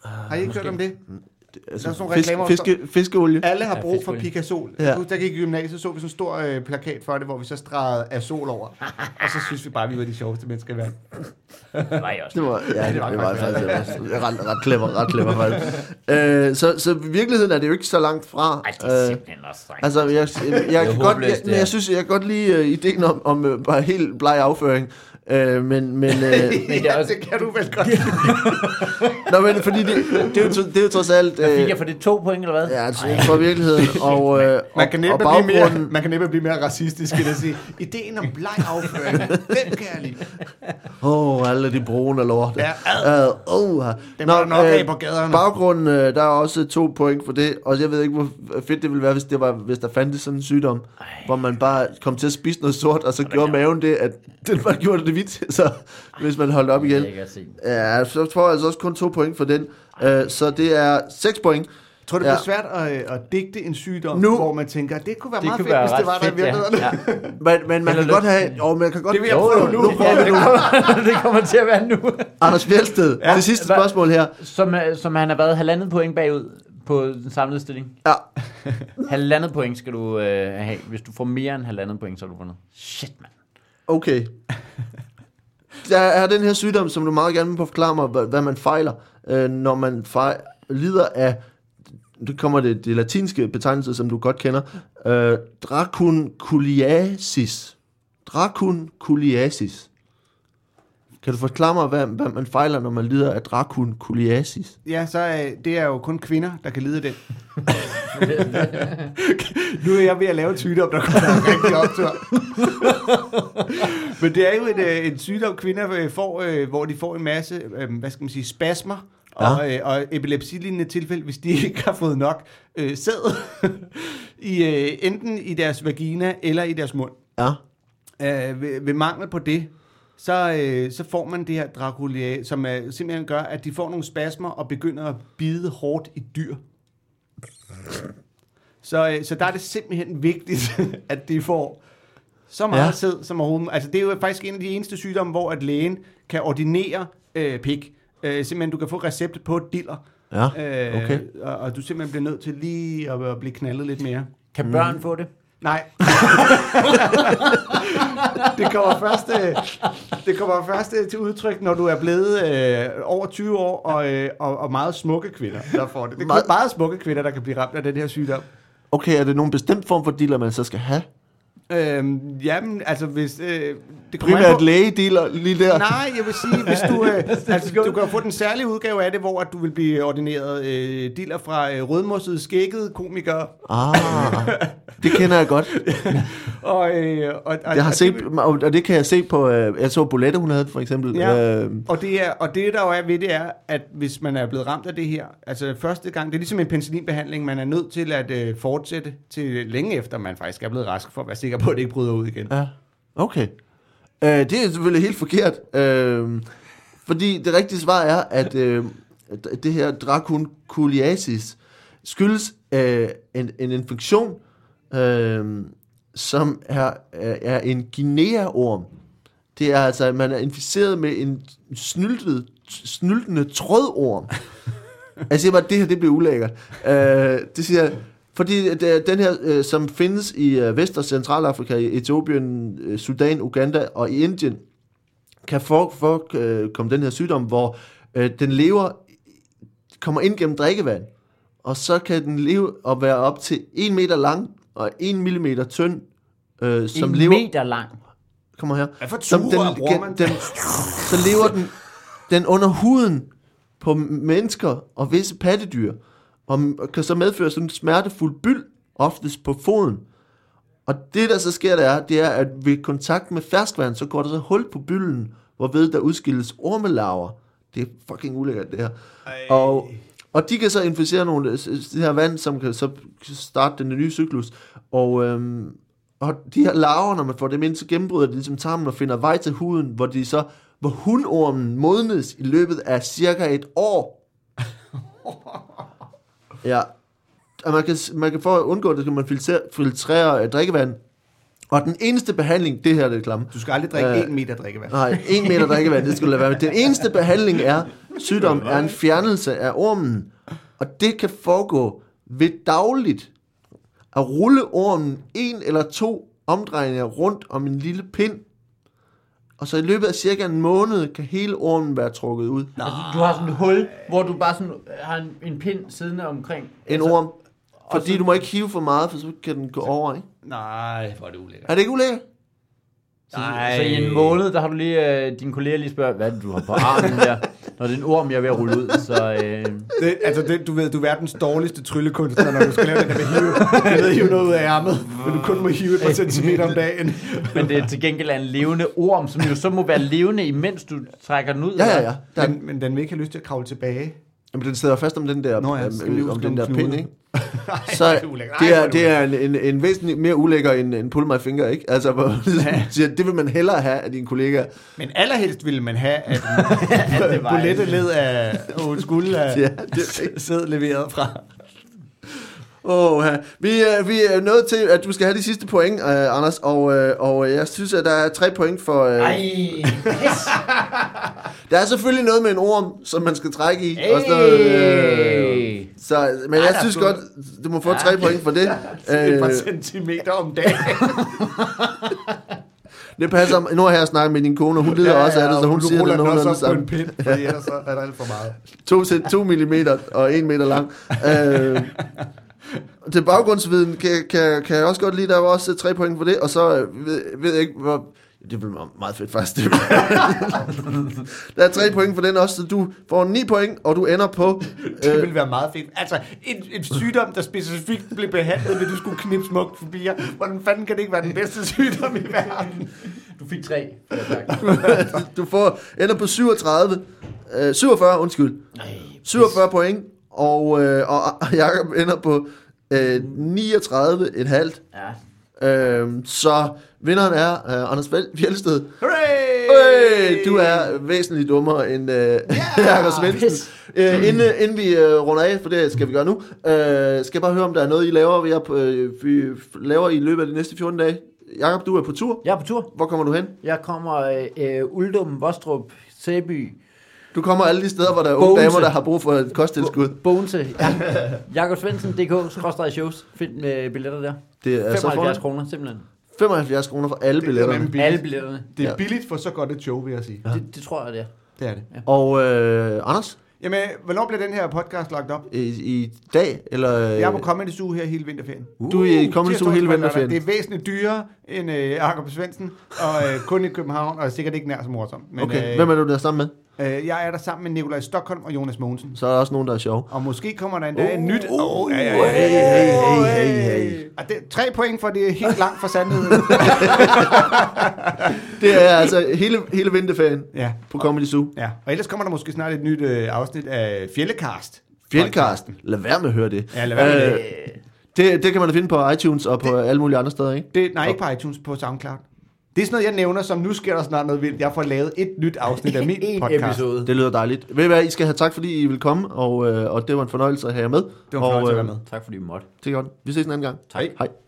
Speaker 2: Har
Speaker 1: Ah,
Speaker 2: I ikke hørt om det?
Speaker 1: Mm,
Speaker 2: Der er sådan nogle reklamer, hvor
Speaker 1: altså, fiske, fiskeolie.
Speaker 2: Alle har
Speaker 3: Ja,
Speaker 2: brug for
Speaker 3: fiskeolie.
Speaker 2: pikasol.
Speaker 1: Ja.
Speaker 2: Ja. Der gik i gymnasiet, så vi sådan en stor øh, plakat for det, hvor vi så stregede af sol over. Og så synes vi bare, vi var de sjoveste mennesker i verden.
Speaker 3: Det var jeg *laughs* også.
Speaker 1: Det var, ja, det var,
Speaker 2: var
Speaker 1: det var
Speaker 2: faktisk-
Speaker 1: faktisk det var ret, ret clever, ret clever faktisk. Øh, så, så i virkeligheden er det jo ikke så langt fra.
Speaker 3: Ej, det er
Speaker 1: Øh,
Speaker 3: simpelthen også strengt.
Speaker 1: Altså, jeg, jeg, jeg, kan godt, jeg,
Speaker 3: håbløst,
Speaker 1: men
Speaker 3: ja.
Speaker 1: jeg synes, jeg kan godt lide uh, ideen om, om uh, bare helt bleg afføring. Uh, men, men,
Speaker 2: *laughs*
Speaker 1: uh,
Speaker 3: det er
Speaker 2: ja,
Speaker 3: også-
Speaker 2: det kan du vel godt. Ja.
Speaker 1: nå, men fordi det, det, er jo, tro- det er jo trods alt... Uh,
Speaker 3: Fik jeg for det to point, eller hvad?
Speaker 1: ja, altså, tro- for virkeligheden. Og, uh,
Speaker 2: *laughs* Man kan,
Speaker 1: og, og
Speaker 2: næppe blive mere,
Speaker 1: baggrunden...
Speaker 2: man kan næppe blive mere racistisk end at sige, ideen om bleg
Speaker 1: *laughs*
Speaker 2: afføring, den kan jeg lide.
Speaker 1: Åh, oh, alle de brune lort.
Speaker 2: Ja,
Speaker 1: Uh, oh,
Speaker 2: Dem er der nok af på gaderne.
Speaker 1: øh, Baggrunden, øh, der er også to point for det, og jeg ved ikke, hvor fedt det ville være, hvis, det var, hvis der fandtes sådan en sygdom, Ej. hvor man bare kom til at spise noget sort, og så gjorde maven det, at den bare *laughs* gjorde det hvidt, så hvis man holdt op igen.
Speaker 3: Jeg kan se.
Speaker 1: Ja, så får jeg altså også kun to point for den. Øh, så det er seks point.
Speaker 2: Tror du, det
Speaker 1: Ja.
Speaker 2: bliver svært at, øh, at digte en sygdom,
Speaker 1: Nu-
Speaker 2: nu, hvor man tænker, det kunne være
Speaker 3: Det
Speaker 2: meget
Speaker 3: kunne
Speaker 2: fedt,
Speaker 3: være
Speaker 2: hvis det
Speaker 3: ret
Speaker 2: var der i
Speaker 3: fedt, ja.
Speaker 2: virkeligheden?
Speaker 1: Men,
Speaker 3: ja.
Speaker 1: men man,
Speaker 3: Held og
Speaker 1: kan godt have, jo, man kan godt
Speaker 2: Det vil jeg
Speaker 1: Jo, jo,
Speaker 2: prøve nu.
Speaker 1: nu prøver vi nu.
Speaker 3: det kommer *laughs* til at være nu.
Speaker 1: Anders Fjeldsted, ja. det sidste
Speaker 3: Hvad-
Speaker 1: spørgsmål her.
Speaker 3: Som, øh, som han har været halvandet point bagud på den samlede stilling.
Speaker 1: Ja,
Speaker 3: Halvandet point skal du øh, have. Hvis du får mere end halvandet point, så har du vundet. Shit, mand.
Speaker 1: okay. Der er den her sygdom, som du meget gerne vil forklare mig, hvad, hvad man fejler, øh, når man fejl, lider af, det kommer det, det latinske betegnelse, som du godt kender, øh, dracunculiasis. Dracunculiasis. Kan du forklare mig, hvad, hvad man fejler, når man lider af dracunculiasis?
Speaker 2: Ja, så øh, det er jo kun kvinder, der kan lide af den. nu er jeg ved at lave en sygdom, der kommer en rigtig optur. Men det er jo en, øh, en sygdom, kvinder øh, får, øh, hvor de får en masse, øh, hvad skal man sige, spasmer. Og, øh, og epilepsilignende tilfælde, hvis de ikke har fået nok øh, sæd, i, øh, enten i deres vagina eller i deres mund.
Speaker 1: Ja.
Speaker 2: Øh, ved, ved mangel på det, så, øh, så får man det her Draculia, som øh, simpelthen gør, at de får nogle spasmer og begynder at bide hårdt i dyr. Så, øh, så der er det simpelthen vigtigt, *laughs* at de får så meget
Speaker 1: Ja.
Speaker 2: ja. sæd som overhovedet. Altså det er jo faktisk en af de eneste sygdomme, hvor at lægen kan ordinere øh, pik. Øh, simpelthen, du kan få recept på diller.
Speaker 1: Ja,
Speaker 2: øh,
Speaker 1: okay.
Speaker 2: og, og du simpelthen bliver nødt til lige at, at blive knaldet lidt mere.
Speaker 3: Kan børn få det?
Speaker 2: Nej. *laughs* det, kommer først, øh, det kommer først øh, til udtryk, når du er blevet øh, over 20 år, og, øh, og, og meget smukke kvinder, der får det. Det er
Speaker 1: Meget-
Speaker 2: kun meget smukke kvinder, der kan blive ramt af den her sygdom.
Speaker 1: Okay, er det nogen bestemt form for dealer, man så skal have?
Speaker 2: Øhm, jamen, altså hvis... Øh, det kommer an
Speaker 1: Primært
Speaker 2: på-
Speaker 1: lægedealer lige der.
Speaker 2: Nej, jeg vil sige, hvis du...
Speaker 1: *laughs*
Speaker 2: Øh, altså, du kan jo få den særlige udgave af det, hvor at du vil blive ordineret øh, diller fra øh, rødmossede, skækkede komikere.
Speaker 1: Ah, det kender jeg godt.
Speaker 2: Og, øh, og, og,
Speaker 1: Jeg har
Speaker 2: og
Speaker 1: set,
Speaker 2: det-
Speaker 1: og og det kan jeg se på, øh, jeg så Bolette, hun havde det for eksempel.
Speaker 2: Ja.
Speaker 1: Øh,
Speaker 2: Og det, er, og det der jo er ved det er, at hvis man er blevet ramt af det her, altså første gang, det er ligesom en penicillinbehandling, man er nødt til at øh, fortsætte til længe efter, man faktisk er blevet rask, for at være sikker på, at det ikke bryder ud igen.
Speaker 1: ja. Okay. Øh, det er selvfølgelig helt forkert. Øh, fordi det rigtige svar er, at øh, at det her dracunculiasis skyldes øh, en, en infektion, øh, som er, er er en guinea-orm. Det er altså, at man er inficeret med en snyltet, snyltende trådorm. Altså, Jeg siger bare, at det her det bliver ulækkert. Øh, det siger jeg, fordi at, øh, den her, øh, som findes i øh, Vest- og Centralafrika, i Etiopien, øh, Sudan, Uganda og i Indien, kan for, for øh, komme den her sygdom, hvor øh, den lever, kommer ind gennem drikkevand, og så kan den leve og være op til 1 meter lang og 1 mm tynd, øh, som
Speaker 3: en
Speaker 1: lever...
Speaker 3: meter lang.
Speaker 1: Kommer her.
Speaker 2: Hvad for
Speaker 1: Som
Speaker 2: sugerør bruger
Speaker 1: gen-
Speaker 2: man?
Speaker 1: den, så lever den, den under huden på mennesker og visse pattedyr, og m- kan så medføre sådan en smertefuld byld, oftest på foden. Og det, der så sker, der er, det er, at ved kontakt med ferskvand, så går der så hul på bylden, hvorved der udskilles ormelarver. Det er fucking ulækkert, det her. Og, og de kan så inficere nogle øh, s- det her vand, som kan så starte den nye cyklus. Og, øhm, og de her larver, når man får dem ind, så gennembryder de ligesom tarmen og finder vej til huden, hvor de så hvor hundormen modnes i løbet af cirka et år. Ja. Og man kan, s- man kan for at undgå det, skal man filtrere, filtrere øh, drikkevand. Og den eneste behandling, det her er det klamme,
Speaker 2: Du skal aldrig drikke
Speaker 1: Øh,
Speaker 2: øh, 1 meter drikkevand.
Speaker 1: Nej, en meter drikkevand, det skulle lade være med. Den eneste behandling er, sygdom er en fjernelse af ormen, og det kan foregå ved dagligt at rulle ormen en eller to omdrejninger rundt om en lille pind, og så i løbet af cirka en måned kan hele ormen være trukket ud.
Speaker 3: Altså, du har sådan et hul, hvor du bare sådan øh, har en, en pind siddende omkring.
Speaker 1: En
Speaker 3: altså,
Speaker 1: orm. Fordi du må ikke hive for meget, for så kan den gå over, ikke?
Speaker 2: Nej, hvor er det ulækkert.
Speaker 1: Er det ikke ulækkert?
Speaker 3: Så, så altså, i en måned, der har du lige, øh, din kollega lige spørger, hvad er det, du har på armen der? Når det er en orm, jeg er ved at rulle ud, så... Øh,
Speaker 2: Det, altså, det, du ved, du er verdens dårligste tryllekunstner, når du skal lave det der med hive, med at hive noget ud af ærmet, men du kun må hive et par centimeter om dagen.
Speaker 3: men det er til gengæld en levende orm, som jo så må være levende, imens du trækker den ud.
Speaker 1: Ja, ja,
Speaker 3: eller?
Speaker 1: ja. Der,
Speaker 2: Men, men den vil ikke have lyst til at kravle tilbage.
Speaker 1: Jamen, den sidder fast om den der,
Speaker 2: Nå
Speaker 1: Nå,
Speaker 2: ja,
Speaker 1: ja,
Speaker 2: skal vi
Speaker 1: om
Speaker 2: huske
Speaker 1: den
Speaker 2: om
Speaker 1: der
Speaker 2: knuden.
Speaker 1: pind, ikke? Så det er, det er en, en, en væsentlig mere ulækker end en pull my finger, ikke? Altså, hvor, *laughs* siger, det vil man hellere have af dine kollegaer.
Speaker 2: Men allerhelst ville man have,
Speaker 1: *laughs*
Speaker 2: at
Speaker 3: det var
Speaker 2: bulette led af old school af,
Speaker 1: Ja,
Speaker 2: ja,
Speaker 1: det er rigtigt.
Speaker 2: sæd leveret fra.
Speaker 1: Åh, ja. vi, er, vi er nået til, at du skal have de sidste point, øh, Anders, og, øh, og jeg synes, at der er tre point for... Øh,
Speaker 3: *laughs* Ej,
Speaker 1: der er selvfølgelig noget med en orm, som man skal trække i. Og sådan noget, øh,
Speaker 3: hey.
Speaker 1: så, men jeg
Speaker 3: der er
Speaker 1: synes
Speaker 3: sgu-
Speaker 1: godt, du må få tre point for det.
Speaker 2: Et par
Speaker 1: Øh,
Speaker 2: centimeter om dagen.
Speaker 1: det passer. Nu har jeg snakket med din kone, og hun lider også af det, så hun siger det nogenlunde sammen. *laughs*
Speaker 2: pind, fordi ellers så er der alt for meget.
Speaker 1: 2, 2 mm og 1 meter lang. Øh, til baggrundsviden kan, kan, kan jeg også godt lide, der var også 3 point for det, og så øh, ved, ved jeg ikke, hvor... Det blev meget fedt faktisk. der er 3 point for den også, så du får 9 point, og du ender på... øh, *laughs*
Speaker 2: Det ville være meget fedt. Altså, en, en sygdom, der specifikt blev behandlet, men du skulle knippe smukt forbi jer. Hvordan fanden kan det ikke være den bedste sygdom i verden?
Speaker 3: Du fik tre. Ja, tak.
Speaker 1: *laughs* du får, ender på 37, øh, 47, undskyld.
Speaker 3: Nej.
Speaker 1: 47 point, og, øh, og Jacob ender på øh, 39 et halvt.
Speaker 3: Ja.
Speaker 1: Øh, så vinderen er øh, Anders Fjell- Fjeldsted.
Speaker 2: Hooray!
Speaker 1: Hey, du er væsentligt dummere end øh, *laughs* Jakob Svendsen.
Speaker 3: Pis.
Speaker 1: Øh, inden, inden vi øh, runder af, for det skal vi gøre nu, øh, skal jeg bare høre, om der er noget, I laver, vi, er på, øh, vi laver i løbet af de næste 14 dage. Jakob, du er på tur.
Speaker 3: Jeg er på tur.
Speaker 1: Hvor kommer du hen?
Speaker 3: Jeg kommer øh, øh, Uldum, Vostrup, Sæby,
Speaker 1: Du kommer alle de steder, hvor der er unge
Speaker 3: Bogense.
Speaker 1: damer, der har brug for et kosttilskud.
Speaker 3: Bonse. *laughs* Ja. Jakob Svendsen.dk, skrådstræk shows. Find med billetter der.
Speaker 1: Det er så foran
Speaker 3: 75 kroner, simpelthen.
Speaker 1: 75 kroner for alle billetterne.
Speaker 3: Alle billetterne.
Speaker 2: Det
Speaker 1: Ja.
Speaker 2: er billigt for så godt et show, vil jeg sige.
Speaker 3: Det, det tror jeg, det er.
Speaker 2: Det er det.
Speaker 1: Og øh, Anders,
Speaker 2: Jamen, hvornår bliver den her podcast lagt op?
Speaker 1: i, i dag, eller... øh,
Speaker 2: Jeg er på Comedy Zoo her hele vinterferien.
Speaker 1: Du er i Comedy Zoo
Speaker 2: Tirsdag,
Speaker 1: hele
Speaker 2: onsdag,
Speaker 1: vinterferien.
Speaker 2: lørdag. Det er væsentligt dyrere end øh, Jakob Svendsen, og øh, kun i København, og sikkert ikke nær så morsom. Men,
Speaker 1: Okay, hvem er du der sammen med?
Speaker 2: øh, jeg er der sammen med Nikolaj Stockholm og Jonas Mogensen.
Speaker 1: Så er der også nogen, der er sjove.
Speaker 2: Og måske kommer der en dag uh, nyt...
Speaker 1: uh,
Speaker 2: Åh, ja, ja,
Speaker 1: hey,
Speaker 2: ja.
Speaker 1: hey, hey, hey, hey.
Speaker 2: Og det, tre point for det er helt langt fra
Speaker 1: *laughs*
Speaker 2: sandheden.
Speaker 1: Det er altså hele, hele vinterferien
Speaker 2: ja.
Speaker 1: på Comedy Zoo.
Speaker 2: ja. Og ellers kommer der måske snart et nyt øh, afsnit af Fjellecast.
Speaker 1: Fjeldkarsten. Lad være med at høre det.
Speaker 2: Ja, lad være med
Speaker 1: Øh, det. Det kan man da finde på iTunes og på det, alle mulige andre steder, ikke?
Speaker 2: Det, nej, ikke på iTunes, på SoundCloud. Det er sådan noget, jeg nævner, som nu sker der snart noget vildt. Jeg får lavet et nyt afsnit af min
Speaker 3: *laughs* En
Speaker 2: podcast.
Speaker 3: episode.
Speaker 1: Det lyder dejligt. Ved I hvad, I skal have tak, fordi I vil komme, og, øh, og det var en fornøjelse at have jer med.
Speaker 2: Det var en fornøjelse at være med.
Speaker 3: Tak fordi I måtte.
Speaker 1: Det er godt. Vi ses en anden gang.
Speaker 3: Tak.
Speaker 1: Hej.